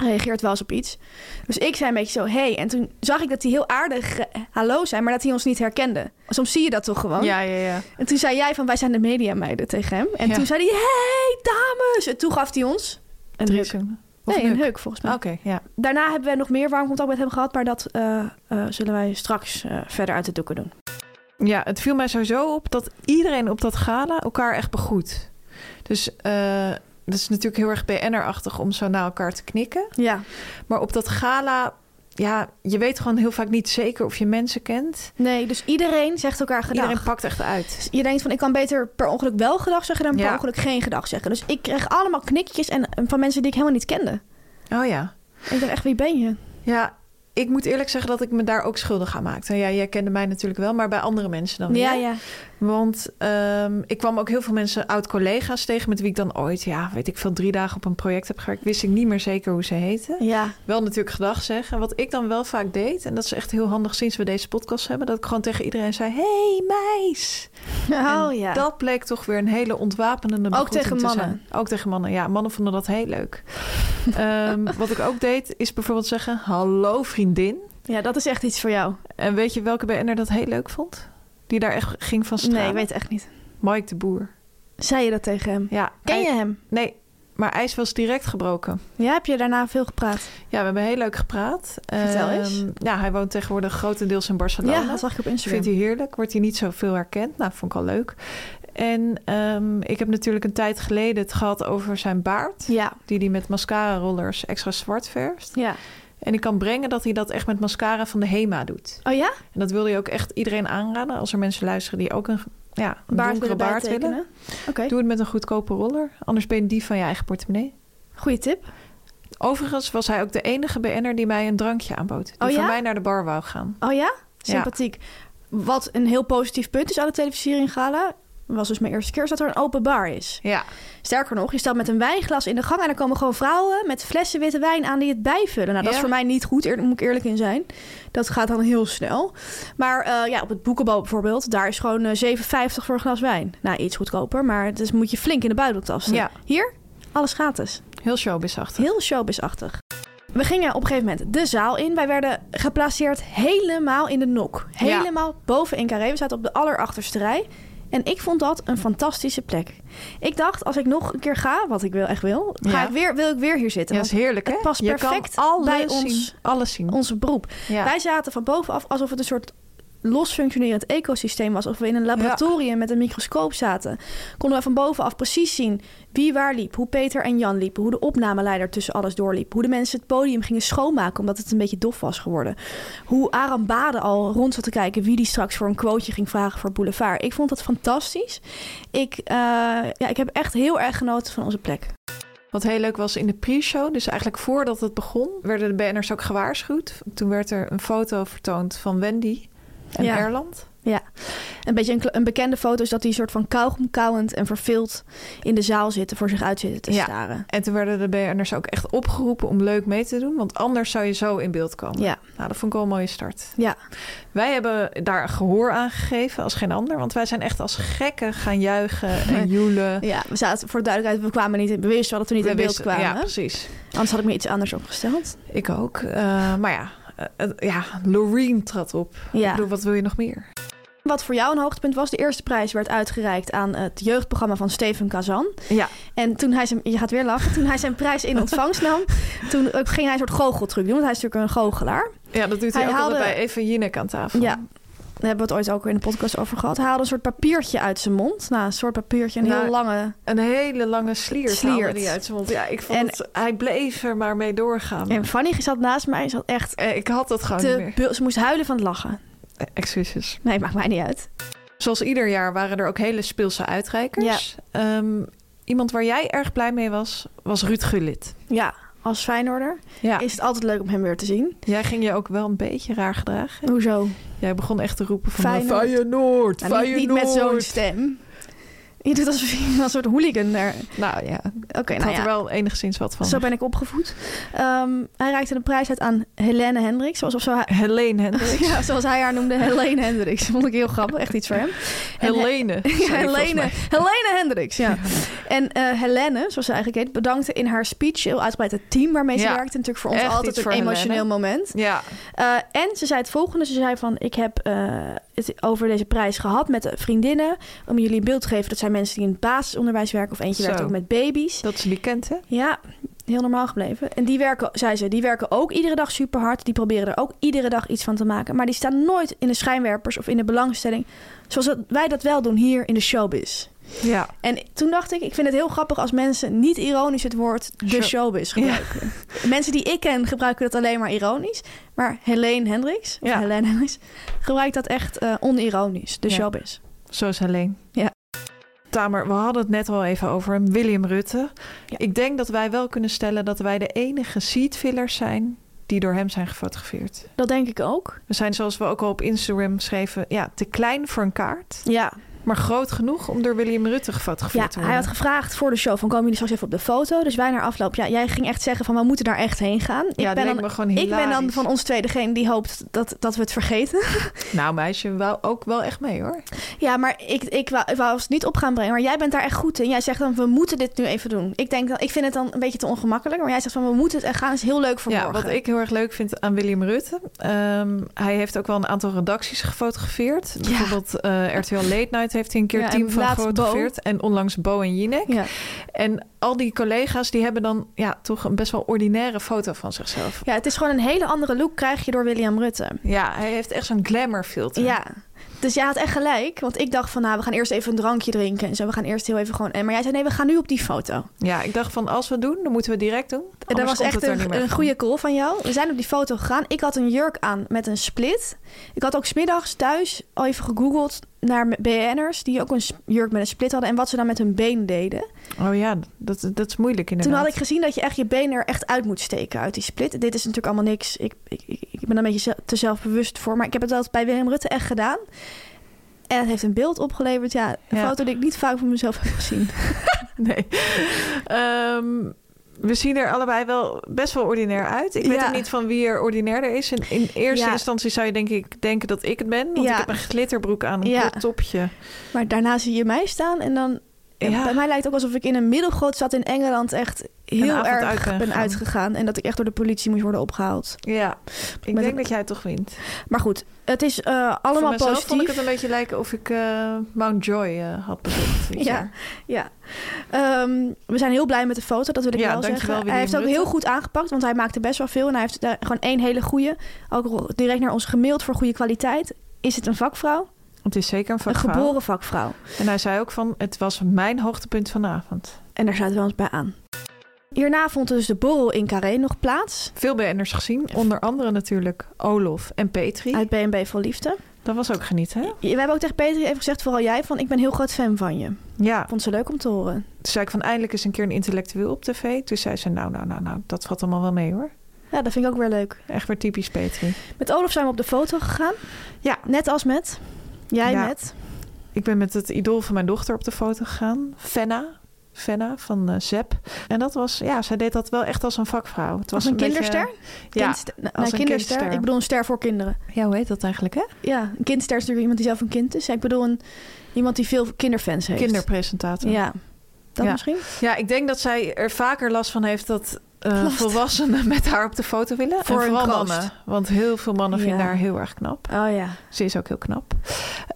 S2: reageert wel eens op iets. Dus ik zei een beetje zo, hey. En toen zag ik dat hij heel aardig eh, hallo zei, maar dat hij ons niet herkende. Soms zie je dat toch gewoon?
S1: Ja, ja, ja.
S2: En toen zei jij van, wij zijn de mediameiden tegen hem. En
S1: Ja.
S2: toen zei hij, hey dames. En toen gaf hij ons een huk.
S1: Driesum. Of
S2: Nee,
S1: een huk.
S2: een
S1: Oh.
S2: heuk volgens mij.
S1: Oké, ja.
S2: Daarna hebben we nog meer warm contact met hem gehad, maar dat eh, eh, zullen wij straks eh, verder uit de doeken doen.
S1: Ja, het viel mij sowieso op dat iedereen op dat gala elkaar echt begroet. Dus eh dat is natuurlijk heel erg BN'er-achtig om zo naar elkaar te knikken.
S2: Ja,
S1: Maar op dat gala, ja, je weet gewoon heel vaak niet zeker of je mensen kent.
S2: nee, dus iedereen zegt elkaar gedag.
S1: Iedereen pakt echt uit.
S2: je denkt van ik kan beter per ongeluk wel gedag zeggen dan per
S1: Ja.
S2: ongeluk geen gedag zeggen. Dus ik kreeg allemaal knikjes en, en van mensen die ik helemaal niet kende.
S1: Oh ja.
S2: Ik dacht echt, wie ben je?
S1: Ja, ik moet eerlijk zeggen dat ik me daar ook schuldig aan maakte. Ja, jij kende mij natuurlijk wel, maar bij andere mensen dan weer.
S2: Oh, Ja, ja.
S1: Want ehm, ik kwam ook heel veel mensen, oud-collega's tegen... met wie ik dan ooit, ja, weet ik veel, drie dagen op een project heb gewerkt. Wist ik niet meer zeker hoe ze heten.
S2: Ja,
S1: Wel natuurlijk gedag zeggen. Wat ik dan wel vaak deed, en dat is echt heel handig sinds we deze podcast hebben... dat ik gewoon tegen iedereen zei, hey, meis.
S2: oh
S1: En
S2: ja.
S1: Dat bleek toch weer een hele ontwapenende
S2: Ook
S1: begroeting
S2: tegen
S1: te
S2: mannen.
S1: zijn. Ook tegen mannen, ja. Mannen vonden dat heel leuk. Ehm, wat ik ook deed, is bijvoorbeeld zeggen... Hallo vriendin.
S2: ja, dat is echt iets voor jou.
S1: En weet je welke BN'er dat heel leuk vond? Die daar echt ging van stralen?
S2: Nee, ik weet het echt niet.
S1: Mike de Boer.
S2: Zei je dat tegen hem?
S1: Ja,
S2: Ken
S1: hij-
S2: je hem?
S1: Nee, maar ijs was direct gebroken.
S2: Ja, heb je daarna veel gepraat?
S1: Ja, we hebben heel leuk gepraat.
S2: Vertel
S1: Ehm,
S2: eens.
S1: Ja, hij woont tegenwoordig grotendeels in Barcelona.
S2: Ja, dat zag ik op Instagram.
S1: Vindt hij heerlijk. Wordt hij niet zoveel herkend. Nou, vond ik al leuk. En ehm, ik heb natuurlijk een tijd geleden het gehad over zijn baard.
S2: Ja,
S1: Die hij met mascara-rollers extra zwart verft.
S2: ja.
S1: En ik kan brengen dat hij dat echt met mascara van de HEMA doet.
S2: Oh ja?
S1: En dat wil je ook echt iedereen aanraden. Als er mensen luisteren die ook een, ja, een donkere
S2: willen
S1: baard
S2: bijtekenen?
S1: willen.
S2: Oké,
S1: Doe het met een goedkope roller. Anders ben je die van je eigen portemonnee.
S2: goede tip.
S1: Overigens was hij ook de enige BN'er die mij een drankje aanbood. Die
S2: Oh ja?
S1: voor mij naar de bar wou gaan.
S2: Oh ja? Sympathiek. Wat een heel positief punt is aan de televisiering gala... was dus mijn eerste keer, is dat er een open bar is.
S1: Ja,
S2: Sterker nog, je staat met een wijnglas in de gang... en er komen gewoon vrouwen met flessen witte wijn aan die het bijvullen. Nou, dat is
S1: Ja.
S2: voor mij niet goed, eer- moet ik eerlijk in zijn. Dat gaat dan heel snel. Maar eh, ja, op het boekenbal bijvoorbeeld... daar is gewoon eh, 7,50 voor een glas wijn. Nou, iets goedkoper, maar dus moet je flink in de buidel tasten.
S1: Ja.
S2: Hier, alles gratis.
S1: heel showbizachtig.
S2: Heel showbizachtig. We gingen op een gegeven moment de zaal in. Wij werden geplaceerd helemaal in de nok. Helemaal boven in carré. We zaten op de allerachterste rij. En ik vond dat een fantastische plek. Ik dacht, als ik nog een keer ga, wat ik wil, echt wil, ga
S1: Ja.
S2: ik weer, wil ik weer hier zitten.
S1: Ja, dat is
S2: Want
S1: heerlijk, hè?
S2: het past
S1: Je kan
S2: perfect
S1: alles
S2: bij ons-
S1: zien. Alles zien.
S2: onze beroep.
S1: ja.
S2: Wij zaten van bovenaf alsof het een soort los functionerend ecosysteem was. Of we in een laboratorium met een microscoop zaten. Konden we van bovenaf precies zien wie waar liep. Hoe Peter en Jan liepen. Hoe de opnameleider tussen alles doorliep. Hoe de mensen het podium gingen schoonmaken omdat het een beetje dof was geworden. Hoe Aram Bade al rond zat te kijken wie die straks voor een quoteje ging vragen voor Boulevard. Ik vond dat fantastisch. Ik, eh, ja, ik heb echt heel erg genoten van onze plek.
S1: Wat heel leuk was in de pre-show, dus eigenlijk voordat het begon, werden de banners ook gewaarschuwd. Toen werd er een foto vertoond van Wendy en
S2: Ja.
S1: Erland.
S2: Een beetje een, kle- een bekende foto is dat die soort van kauwgomkauwend en verveeld in de zaal zitten, voor zich uit zitten te
S1: Ja.
S2: staren.
S1: En toen werden de BN'ers ook echt opgeroepen om leuk mee te doen, want anders zou je zo in beeld komen.
S2: Ja.
S1: Nou, dat vond ik wel een mooie start.
S2: Ja.
S1: Wij hebben daar gehoor aan gegeven als geen ander, want wij zijn echt als gekken gaan juichen en joelen.
S2: ja, we zaten voor de duidelijkheid, we kwamen niet in, we wisten wel dat we niet
S1: We
S2: in beeld
S1: wisten-
S2: kwamen.
S1: Ja, precies.
S2: Anders had ik me iets anders opgesteld.
S1: Ik ook. Eh, maar ja, eh, eh, ja, Loreen trad op. Ik
S2: Ja.
S1: bedoel, wat wil je nog meer?
S2: Wat voor jou een hoogtepunt was, de eerste prijs werd uitgereikt aan het jeugdprogramma van Steven Kazan.
S1: Ja.
S2: En toen hij zijn, je gaat weer lachen, toen hij zijn prijs in ontvangst nam, toen eh, ging hij een soort goocheltruc doen, want hij is natuurlijk een goochelaar.
S1: Ja, dat doet hij,
S2: Hij
S1: ook
S2: haalde-
S1: altijd bij Eva Jinek aan tafel.
S2: Ja. Daar hebben we het ooit ook in de podcast over gehad. Hij haalde een soort papiertje uit zijn mond. Nou, een soort papiertje, een
S1: Nou,
S2: heel lange.
S1: Een hele lange slier
S2: Sliert.
S1: slier die uit zijn mond. Ja, ik vond
S2: En-
S1: het- hij bleef er maar mee doorgaan.
S2: En Fanny zat naast mij en zat echt
S1: Eh, ik had dat gewoon niet
S2: te
S1: meer.
S2: bul- Ze moest huilen van het lachen.
S1: Eh, Excuses.
S2: Nee, maakt mij niet uit.
S1: Zoals ieder jaar waren er ook hele speelse uitreikers. Ehm, iemand waar jij erg blij mee was, was Ruud Gullit.
S2: Ja, als Feyenoorder
S1: Ja.
S2: is het altijd leuk om hem weer te zien.
S1: Jij ging je ook wel een beetje raar gedragen.
S2: Hoezo?
S1: Jij begon echt te roepen van... eh,
S2: Feyenoord.
S1: Feyenoord,
S2: Nou, niet, niet met zo'n
S1: Feyenoord.
S2: stem. Je doet alsof je een soort hooligan daar...
S1: Nou ja, ik
S2: Oké, nou
S1: had
S2: ja.
S1: er wel enigszins wat van.
S2: Zo ben ik opgevoed. Ehm, hij reikte de prijs uit aan Helene Hendricks. Zoals, of zo hij,
S1: Helene Hendricks.
S2: ja, zoals hij haar noemde, Helene Hendricks. Vond ik heel grappig. Echt iets voor hem. En hij-
S1: Helene. zei hij
S2: Ja,
S1: volgens
S2: Helene,
S1: mij.
S2: Helene Hendricks, ja. En eh, Helene, zoals ze eigenlijk heet, bedankte in haar speech heel uitgebreid het team waarmee ze
S1: Ja,
S2: werkte. Natuurlijk voor ons
S1: echt
S2: altijd
S1: iets
S2: een
S1: voor
S2: emotioneel
S1: Helene.
S2: moment.
S1: Ja,
S2: Eh, en ze zei het volgende. Ze zei van, ik heb eh, het over deze prijs gehad met de vriendinnen. Om jullie een beeld te geven, dat zijn mensen die in het basisonderwijs werken. Of eentje
S1: Zo.
S2: werkt ook met baby's.
S1: dat is die kent, hè?
S2: Ja, heel normaal gebleven. En die werken, zei ze, die werken ook iedere dag super hard. Die proberen er ook iedere dag iets van te maken. Maar die staan nooit in de schijnwerpers of in de belangstelling. Zoals dat wij dat wel doen hier in de showbiz.
S1: Ja.
S2: En toen dacht ik, ik vind het heel grappig als mensen niet ironisch het woord de
S1: Show-
S2: showbiz gebruiken. Mensen die ik ken gebruiken dat alleen maar ironisch. Maar Helene Hendricks, of
S1: Ja.
S2: Helene Hendricks gebruikt dat echt eh, onironisch, de
S1: Ja.
S2: showbiz.
S1: Zo is Helene.
S2: Ja.
S1: Tamer, we hadden het net al even over hem, William Rutte.
S2: Ja.
S1: Ik denk dat wij wel kunnen stellen dat wij de enige seatfillers zijn die door hem zijn gefotografeerd.
S2: Dat denk ik ook.
S1: We zijn, zoals we ook al op Instagram schreven, ja, te klein voor een kaart,
S2: Ja,
S1: maar groot genoeg om door William Rutte gefotografeerd
S2: ja
S1: te
S2: hij
S1: worden.
S2: had gevraagd voor de show van komen jullie straks even op de foto. Dus wij naar afloop, ja, jij ging echt zeggen van we moeten daar echt heen gaan. Ik,
S1: ja, dat
S2: ben,
S1: leek
S2: dan,
S1: me gewoon
S2: ik ben dan
S1: hilarisch.
S2: van ons twee degene die hoopt dat, dat we het vergeten.
S1: Nou meisje, wou ook wel echt mee hoor.
S2: Ja, maar ik, ik, wou, ik wou het niet op gaan brengen. Maar jij bent daar echt goed in. Jij zegt dan, we moeten dit nu even doen. Ik, denk dan, ik vind het dan een beetje te ongemakkelijk. Maar jij zegt van, we moeten het echt gaan. is heel leuk voor
S1: Ja,
S2: morgen.
S1: wat ik heel erg leuk vind aan William Rutte. ehm, hij heeft ook wel een aantal redacties gefotografeerd. Bijvoororbeeld eh, RTL Late Night heeft hij een keer
S2: Ja, en
S1: team van
S2: laatst Bo.
S1: gefotografeerd. En onlangs Bo en Jinek.
S2: Ja.
S1: En al die collega's die hebben dan ja, toch een best wel ordinaire foto van zichzelf.
S2: ja, het is gewoon een hele andere look krijg je door William Rutte.
S1: Ja, hij heeft echt zo'n glamour filter.
S2: Ja. Dus jij had echt gelijk. Want ik dacht van, nou, we gaan eerst even een drankje drinken. En zo, we gaan eerst heel even gewoon... En, maar jij zei, nee, we gaan nu op die foto. En
S1: Ja, ik dacht van als we het doen, dan moeten we het direct doen. En
S2: dat was echt een, een goede call van jou. We zijn op die foto gegaan. Ik had een jurk aan met een split. Ik had ook smiddags thuis al even gegoogeld naar BN'ers... die ook een s- jurk met een split hadden. En wat ze dan met hun been deden.
S1: Oh ja, dat, dat is moeilijk inderdaad.
S2: Toen had ik gezien dat je echt je been er echt uit moet steken uit die split. Dit is natuurlijk allemaal niks. Ik, ik, ik ik ben er een beetje ze- te zelfbewust voor. Maar ik heb het altijd bij Willem Rutte echt gedaan. En het heeft een beeld opgeleverd. Ja, een
S1: Ja.
S2: foto die ik niet vaak van mezelf heb gezien.
S1: Nee. Ehm, we zien er allebei wel best wel ordinair uit. Ik weet
S2: Ja.
S1: ook niet van wie er ordinairder is. In, in eerste
S2: Ja.
S1: instantie zou je denk ik denken dat ik het ben. Want
S2: Ja.
S1: ik heb een glitterbroek aan, een
S2: Ja.
S1: kort topje.
S2: Maar daarna zie je mij staan en dan...
S1: Ja.
S2: Bij mij lijkt het ook alsof ik in een middelgroot stad in Engeland echt heel
S1: avond
S2: erg
S1: uit ben
S2: ben
S1: gegaan.
S2: uitgegaan. En dat ik echt door de politie moest worden opgehaald.
S1: Ja, ik
S2: Met-
S1: denk dat jij het toch wint.
S2: Maar goed, het is eh, allemaal
S1: Voor mezelf
S2: positief.
S1: vond ik het een beetje lijken of ik eh, Mount Joy eh, had bezocht. dit
S2: Ja,
S1: jaar.
S2: Ja. Ehm, we zijn heel blij met de foto, dat wil ik
S1: Ja,
S2: wel
S1: dankjewel,
S2: zeggen. Hij
S1: William
S2: heeft ook
S1: Rutte.
S2: heel goed aangepakt, want hij maakte best wel veel. En hij heeft daar gewoon één hele goede. Ook ro- direct naar ons gemaild voor goede kwaliteit. Is het een vakvrouw?
S1: Het is zeker een
S2: Een
S1: vakvrouw.
S2: geboren vakvrouw.
S1: En hij zei ook van, het was mijn hoogtepunt van de avond.
S2: En daar zaten we ons bij aan. Hierna vond dus de borrel in Carré nog plaats.
S1: Veel BN'ers gezien, onder andere natuurlijk Olof en Petri.
S2: Uit BNB Vol Liefde.
S1: Dat was ook genieten, hè?
S2: We hebben ook tegen Peter even gezegd, vooral jij, van ik ben heel groot fan van je.
S1: Ja,
S2: Vond ze leuk om te horen.
S1: toen zei ik van eindelijk eens een keer een intellectueel op tv. Toen zei ze, nou, nou, nou, nou, dat valt allemaal wel mee hoor.
S2: Ja, dat vind ik ook weer leuk.
S1: Echt weer typisch Petri.
S2: Met Olaf zijn we op de foto gegaan.
S1: Ja.
S2: Net als met. Jij
S1: Ja.
S2: met.
S1: Ik ben met het idool van mijn dochter op de foto gegaan. Fenna. Fenna van eh Zep. En dat was, ja, zij deed dat wel echt als een vakvrouw. Het was
S2: een
S1: beetje-
S2: kinderster?
S1: ja,
S2: Kindster- nou,
S1: als
S2: een
S1: een
S2: kinderster.
S1: kindster.
S2: Ik bedoel een ster voor kinderen.
S1: ja, hoe heet dat eigenlijk, hè?
S2: Ja, een kindster is natuurlijk iemand die zelf een kind is. Ik bedoel een, iemand die veel kinderfans heeft.
S1: Kinderpresentator.
S2: Ja, dat
S1: Ja.
S2: misschien.
S1: Ja, ik denk dat zij er vaker last van heeft dat eh,
S2: Last.
S1: volwassenen met haar op de foto willen.
S2: Voor
S1: en
S2: een
S1: vooral
S2: kroost.
S1: mannen. Want heel veel mannen
S2: Ja.
S1: vinden haar heel erg knap.
S2: Oh ja.
S1: Ze is ook heel knap.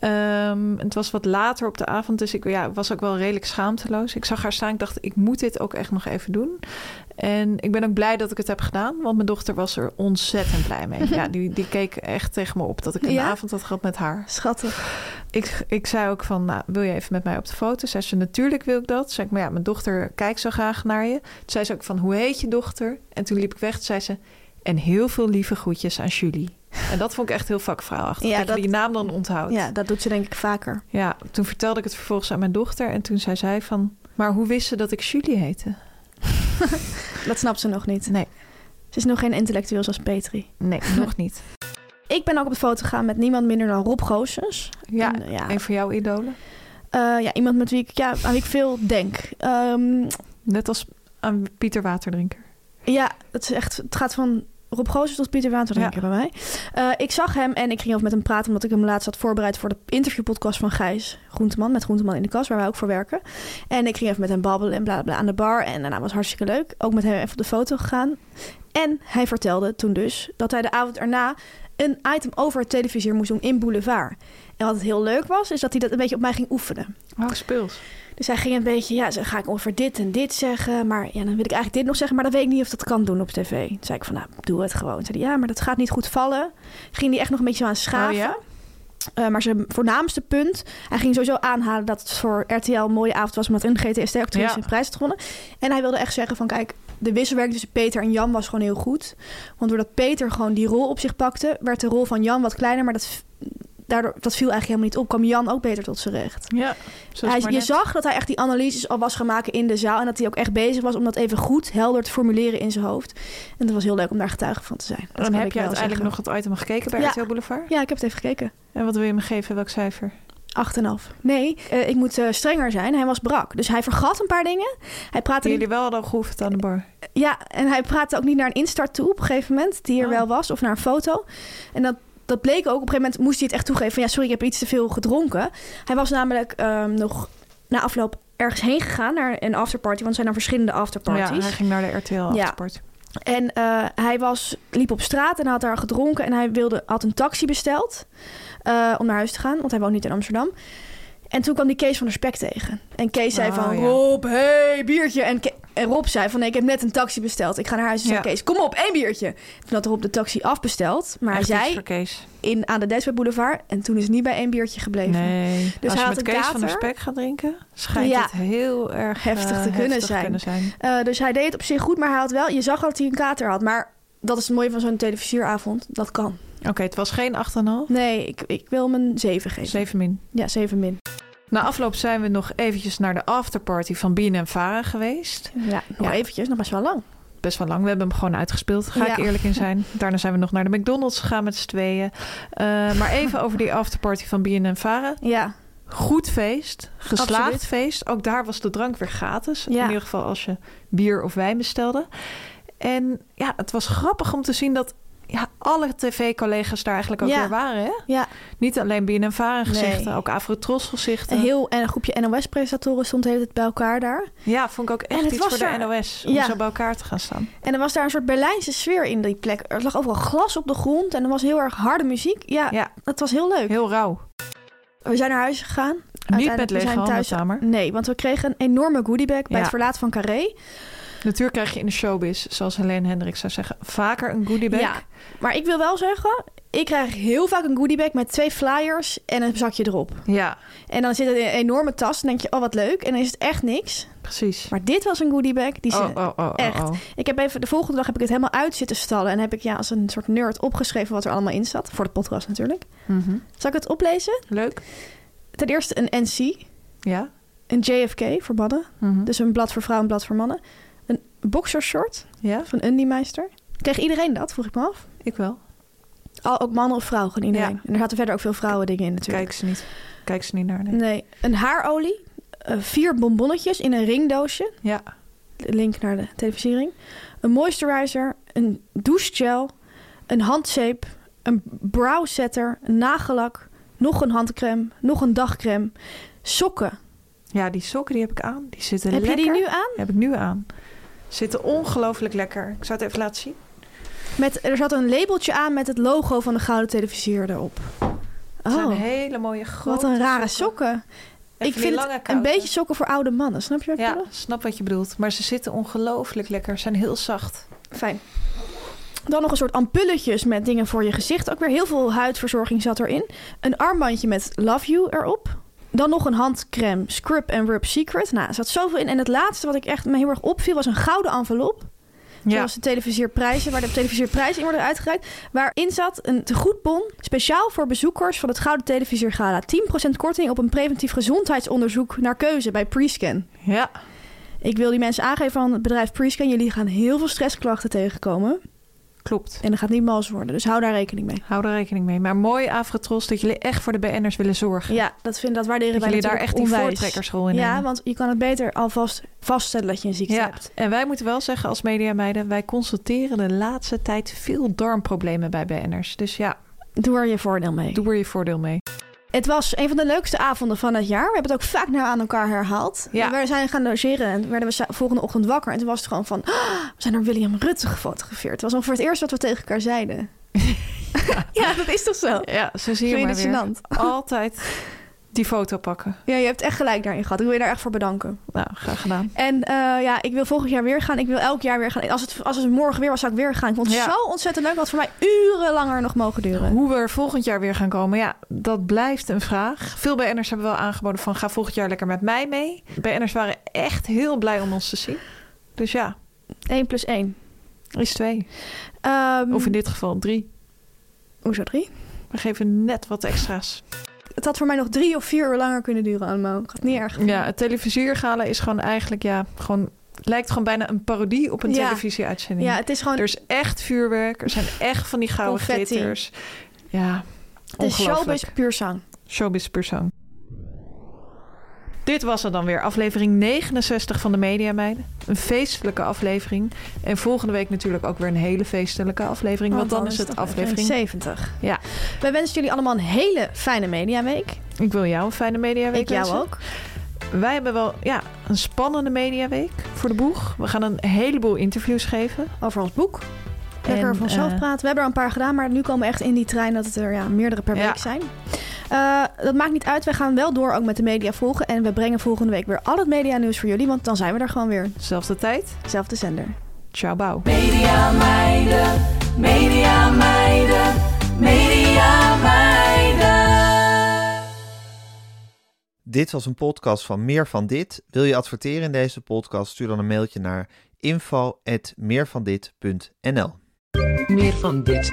S1: Ehm, het was wat later op de avond, dus ik ja, was ook wel redelijk schaamteloos. Ik zag haar staan, ik dacht, ik moet dit ook echt nog even doen. En ik ben ook blij dat ik het heb gedaan, want mijn dochter was er ontzettend blij mee. Ja, die, die keek echt tegen me op dat ik een
S2: Ja?
S1: avond had gehad met haar.
S2: Schattig.
S1: Ik, ik zei ook van, nou, wil je even met mij op de foto? Zei ze, natuurlijk wil ik dat. Zei ik, maar ja, mijn dochter kijkt zo graag naar je. Toen zei ze ook van, hoe heet je dochter? En toen liep ik weg, toen zei ze, en heel veel lieve groetjes aan Julie. En dat vond ik echt heel vakvrouwachtig,
S2: Ja,
S1: dat,
S2: dat-
S1: je die naam dan onthoudt.
S2: Ja, dat doet ze denk ik vaker.
S1: Ja, toen vertelde ik het vervolgens aan mijn dochter. En toen zei zij van, maar hoe wist ze dat ik Julie heette?
S2: Dat snapt ze nog niet.
S1: Nee.
S2: Ze is nog geen intellectueel zoals Petri.
S1: Nee, nog niet.
S2: Ik ben ook op de foto gegaan met niemand minder dan Rob Goossens.
S1: Ja,
S2: En, eh, ja.
S1: en voor jouw idolen?
S2: Eh, ja, iemand met wie ik, ja, aan wie ik veel denk. Ehm,
S1: Net als aan Pieter Waterdrinker.
S2: Ja, het, is echt, het gaat van Rob Goossens tot Pieter Waterdrinker bij mij. Eh, ik zag hem en ik ging over met hem praten... omdat ik hem laatst had voorbereid voor de interviewpodcast van Gijs Groenteman... met Groenteman in de kast, waar wij ook voor werken. En ik ging even met hem babbelen en bla bla, bla aan de bar. En daarna was hartstikke leuk. Ook met hem even op de foto gegaan. En hij vertelde toen dus dat hij de avond erna... een item over het televisor moest doen in Boulevard. En wat het heel leuk was, is dat hij dat een beetje op mij ging oefenen.
S1: Oh, speels.
S2: Dus hij ging een beetje, ja, zo ga ik over dit en dit zeggen. Maar ja, dan wil ik eigenlijk dit nog zeggen, maar dan weet ik niet of dat kan doen op tv. Toen zei ik van, nou, doe het gewoon. Toen zei hij, ja, maar dat gaat niet goed vallen. Ging hij echt nog een beetje zo aan schaven.
S1: Oh ja?
S2: Eh, maar zijn voornaamste punt, hij ging sowieso aanhalen dat het voor RTL een mooie avond was... omdat een GTSD-actrice
S1: Ja.
S2: een prijs had gewonnen. En hij wilde echt zeggen van, kijk, de wisselwerking tussen Peter en Jan was gewoon heel goed. Want doordat Peter gewoon die rol op zich pakte, werd de rol van Jan wat kleiner. Maar dat, daardoor, dat viel eigenlijk helemaal niet op, kwam Jan ook beter tot zijn recht.
S1: Ja. Zo is
S2: Hij,
S1: maar
S2: je
S1: net.
S2: zag dat hij echt die analyses al was gaan maken in de zaal. En dat hij ook echt bezig was om dat even goed, helder te formuleren in zijn hoofd. En dat was heel leuk om daar getuige van te zijn. Dat
S1: Dan
S2: kan
S1: heb
S2: ik
S1: je
S2: wel
S1: uiteindelijk
S2: zeggen.
S1: nog het item gekeken bij
S2: Ja.
S1: RTL Boulevard.
S2: Ja, ik heb het even gekeken.
S1: En wat wil je me geven? Welk cijfer?
S2: 8,5. Nee, eh, ik moet eh, strenger zijn. Hij was brak. Dus hij vergat een paar dingen. Hij praatte
S1: Jullie wel hadden geoefend aan de bar.
S2: niet- ja, en hij praatte ook niet naar een instart toe op een gegeven moment. Die er
S1: Oh.
S2: wel was. Of naar een foto. En dat, dat bleek ook. Op een gegeven moment moest hij het echt toegeven. Van, ja, sorry, ik heb iets te veel gedronken. Hij was namelijk ehm, nog na afloop ergens heen gegaan. Naar een afterparty. Want er zijn dan verschillende afterparties.
S1: Ja, hij ging naar de RTL afterparty.
S2: En eh, hij was, liep op straat en had daar gedronken. En hij wilde, had een taxi besteld eh, om naar huis te gaan. Want hij woont niet in Amsterdam. En toen kwam die Kees van der Spek tegen. En Kees zei
S1: Oh,
S2: van,
S1: ja.
S2: Rob, hey, biertje. En, Ke- en Rob zei van, nee, ik heb net een taxi besteld. Ik ga naar huis. Toen zei
S1: Ja.
S2: Kees, kom op, één biertje. Toen had Rob de taxi afbesteld. Maar
S1: Echt
S2: hij
S1: iets
S2: zei
S1: voor Kees.
S2: in, aan de Desperate Boulevard. En toen is het niet bij één biertje gebleven.
S1: Nee.
S2: hij
S1: Dus Als je
S2: had
S1: met
S2: een
S1: Kees van der
S2: kater.
S1: Spek gaat drinken, schijnt
S2: Ja.
S1: het heel erg
S2: Heftig te
S1: eh,
S2: kunnen zijn. Eh, dus hij deed het op zich goed. Maar hij had wel, je zag dat hij een kater had. Maar dat is het mooie van zo'n televisieravond. Dat kan.
S1: Oké, het was geen 8,5.
S2: Nee, ik, ik wil hem een 7 geven.
S1: 7 min.
S2: Ja, 7 min.
S1: Na afloop zijn we nog eventjes naar de afterparty van Bien en Vara geweest.
S2: Ja, nog
S1: Ja.
S2: eventjes, nog best wel lang.
S1: Best wel lang. We hebben hem gewoon uitgespeeld. Ga ik
S2: Ja.
S1: eerlijk in zijn. Daarna zijn we nog naar de McDonald's gegaan met z'n tweeën. Eh, maar even over die afterparty van Bien en Vara.
S2: Ja,
S1: Goed feest. Geslaagd
S2: Absoluut.
S1: feest. Ook daar was de drank weer gratis.
S2: Ja.
S1: In ieder geval als je bier of wijn bestelde. En ja, het was grappig om te zien dat ja, alle tv-collega's daar eigenlijk ook
S2: Ja.
S1: weer waren. Hè?
S2: Ja,
S1: Niet alleen BNNVARA gezichten,
S2: Nee.
S1: ook Avrotros gezichten.
S2: een heel en een groepje NOS-presentatoren stond heeft het bij elkaar daar.
S1: Ja, vond ik ook
S2: En
S1: echt
S2: het
S1: iets
S2: was
S1: voor
S2: er-
S1: de NOS. Om
S2: Ja.
S1: zo bij elkaar te gaan staan.
S2: En er was daar een soort Berlijnse sfeer in die plek. Er lag overal glas op de grond en er was heel erg harde muziek. Ja,
S1: Ja,
S2: het was heel leuk.
S1: heel rauw.
S2: We zijn naar huis gegaan.
S1: Niet
S2: Uiteindelijk,
S1: met
S2: we
S1: lege
S2: zijn
S1: handen,
S2: thuis-
S1: Tamer.
S2: Nee, want we kregen een enorme goodiebag bij
S1: Ja.
S2: het verlaten van Carré.
S1: Natuurlijk krijg je in de showbiz, zoals Helene Hendricks zou zeggen, vaker een goodiebag.
S2: Ja, maar ik wil wel zeggen, ik krijg heel vaak een goodiebag met twee flyers en een zakje erop.
S1: ja,
S2: En dan zit het in een enorme tas en denk je, oh wat leuk. En dan is het echt niks.
S1: precies.
S2: Maar dit was een goodiebag. Die ze...
S1: Oh, oh, oh, oh,
S2: echt.
S1: oh.
S2: Ik heb even, de volgende dag heb ik het helemaal uit zitten stallen. En heb ik ja, als een soort nerd opgeschreven wat er allemaal in zat. Voor de podcast natuurlijk.
S1: Mhm.
S2: Zal ik het oplezen?
S1: Leuk.
S2: Ten eerste een NC.
S1: Ja.
S2: Een JFK voor mannen.
S1: Mhm.
S2: Dus een blad voor vrouwen, een blad voor mannen. Een boxershort
S1: ja,
S2: van Undiemeister. Kreeg iedereen dat, vroeg ik me af.
S1: ik wel.
S2: Al, ook mannen of vrouwen, gewoon iedereen.
S1: Ja.
S2: En er zaten verder ook veel vrouwen dingen in natuurlijk.
S1: Kijk ze niet. Kijk ze niet naar. Nee.
S2: Nee, een haarolie. eh, vier bonbonnetjes in een ringdoosje.
S1: Ja.
S2: Link naar de televisiering. Een moisturizer. Een douchegel. Een handzeep. Een browsetter. Een nagellak. Nog een handcreme. Nog een dagcreme. Sokken.
S1: Ja, die sokken die heb ik aan. Die zitten
S2: Heb je
S1: lekker.
S2: die nu aan?
S1: Heb ik nu aan. Zitten ongelooflijk lekker. Ik zou het even laten zien.
S2: Met, er zat een labeltje aan met het logo van de Gouden Televisier erop.
S1: Het zijn
S2: Oh,
S1: hele mooie grote
S2: wat een rare sokken.
S1: Even die
S2: Ik vind
S1: lange
S2: het een
S1: kouten.
S2: beetje sokken voor oude mannen. Snap je wat ik
S1: Ja,
S2: bedoel?
S1: snap wat je bedoelt. Maar ze zitten ongelooflijk lekker. Ze zijn heel zacht.
S2: Fijn. Dan nog een soort ampulletjes met dingen voor je gezicht. Ook weer heel veel huidverzorging zat erin. Een armbandje met Love You erop. Dan nog een handcreme, Scrub and Rub Secret. Nou, er zat zoveel in. En het laatste wat ik echt me heel erg opviel was een gouden envelop. Zoals de televisierprijzen, waar de televisierprijzen in worden uitgereikt. Waarin zat een tegoedbon speciaal voor bezoekers van het Gouden Televisor Gala. 10% korting op een preventief gezondheidsonderzoek naar keuze bij Prescan.
S1: Ja.
S2: Ik wil die mensen aangeven van het bedrijf Prescan. Jullie gaan heel veel stressklachten tegenkomen.
S1: Klopt.
S2: En dat gaat niet mals worden. Dus hou daar rekening mee.
S1: Hou er rekening mee. Maar mooi, Avrotros, dat jullie echt voor de BN'ers willen zorgen.
S2: Ja, dat, vind, dat waarderen
S1: dat
S2: wij
S1: jullie daar echt
S2: natuurlijk
S1: die
S2: onwijs.
S1: voortrekkersrol in
S2: Ja,
S1: nemen.
S2: want je kan het beter alvast vaststellen dat je een ziekte
S1: Ja,
S2: hebt.
S1: en wij moeten wel zeggen als mediameiden... wij constateren de laatste tijd veel darmproblemen bij BN'ers. Dus ja,
S2: Doe er je voordeel mee.
S1: doe er je voordeel mee.
S2: Het was een van de leukste avonden van het jaar. We hebben het ook vaak naar aan elkaar herhaald.
S1: Ja.
S2: We zijn gaan logeren en werden we za- volgende ochtend wakker. En toen was het gewoon van, "Ah, we zijn door William Rutte gefotografeerd. Het was ongeveer het eerste wat we tegen elkaar zeiden. ja, dat is toch zo?
S1: Ja, zo zie
S2: Vind
S1: je
S2: je
S1: maar
S2: dit
S1: weer.
S2: gênant?
S1: Altijd die foto pakken.
S2: Ja, je hebt echt gelijk daarin gehad. Ik wil je daar echt voor bedanken.
S1: Nou, graag gedaan.
S2: En eh, ja, ik wil volgend jaar weer gaan. Ik wil elk jaar weer gaan. Als het, als het morgen weer was, zou ik weer gaan. Ik vond het
S1: Ja.
S2: zo ontzettend leuk. Wat voor mij uren langer nog mogen duren.
S1: Hoe we er volgend jaar weer gaan komen, ja, dat blijft een vraag. Veel BN'ers hebben wel aangeboden van ga volgend jaar lekker met mij mee. BN'ers waren echt heel blij om ons te zien. Dus ja,
S2: 1 plus 1.
S1: is twee. Of in dit geval drie.
S2: Ehm, Hoezo 3?
S1: We geven net wat extra's.
S2: Het had voor mij nog drie of vier uur langer kunnen duren allemaal. Ik had het niet erg. gevonden.
S1: Ja, het televisiergala is gewoon eigenlijk, ja, gewoon, het lijkt gewoon bijna een parodie op een
S2: Ja.
S1: televisieuitzending.
S2: Ja, het is gewoon
S1: Er is echt vuurwerk, er zijn echt van die gouden
S2: Confetti.
S1: glitters. Ja,
S2: de
S1: ongelooflijk.
S2: showbiz puur zang.
S1: showbiz persoon. Dit was het dan weer, aflevering 69 van de Media Meiden. Een feestelijke aflevering. En volgende week natuurlijk ook weer een hele feestelijke
S2: Oh,
S1: aflevering. Want dan is het aflevering.
S2: 70.
S1: Ja.
S2: Wij wensen jullie allemaal een hele fijne mediaweek.
S1: Ik wil jou een fijne mediaweek
S2: Ik jou
S1: wensen.
S2: ook.
S1: Wij hebben wel ja, een spannende mediaweek voor de boeg. We gaan een heleboel interviews geven.
S2: Over ons boek. Lekker
S1: En,
S2: vanzelf
S1: eh,
S2: praten. We hebben er een paar gedaan, maar nu komen we echt in die trein dat het er ja, meerdere per
S1: Ja.
S2: week zijn. Eh, dat maakt niet uit. Wij gaan wel door ook met de media volgen. En we brengen volgende week weer al het media nieuws voor jullie. Want dan zijn we er gewoon weer.
S1: Zelfde tijd.
S2: Zelfde zender.
S1: Ciao, bouw.
S3: Media meiden, media meiden, media meiden.
S4: Dit was een podcast van Meer van Dit. Wil je adverteren in deze podcast? Stuur dan een mailtje naar info.meervandit.nl
S5: Meer van dit.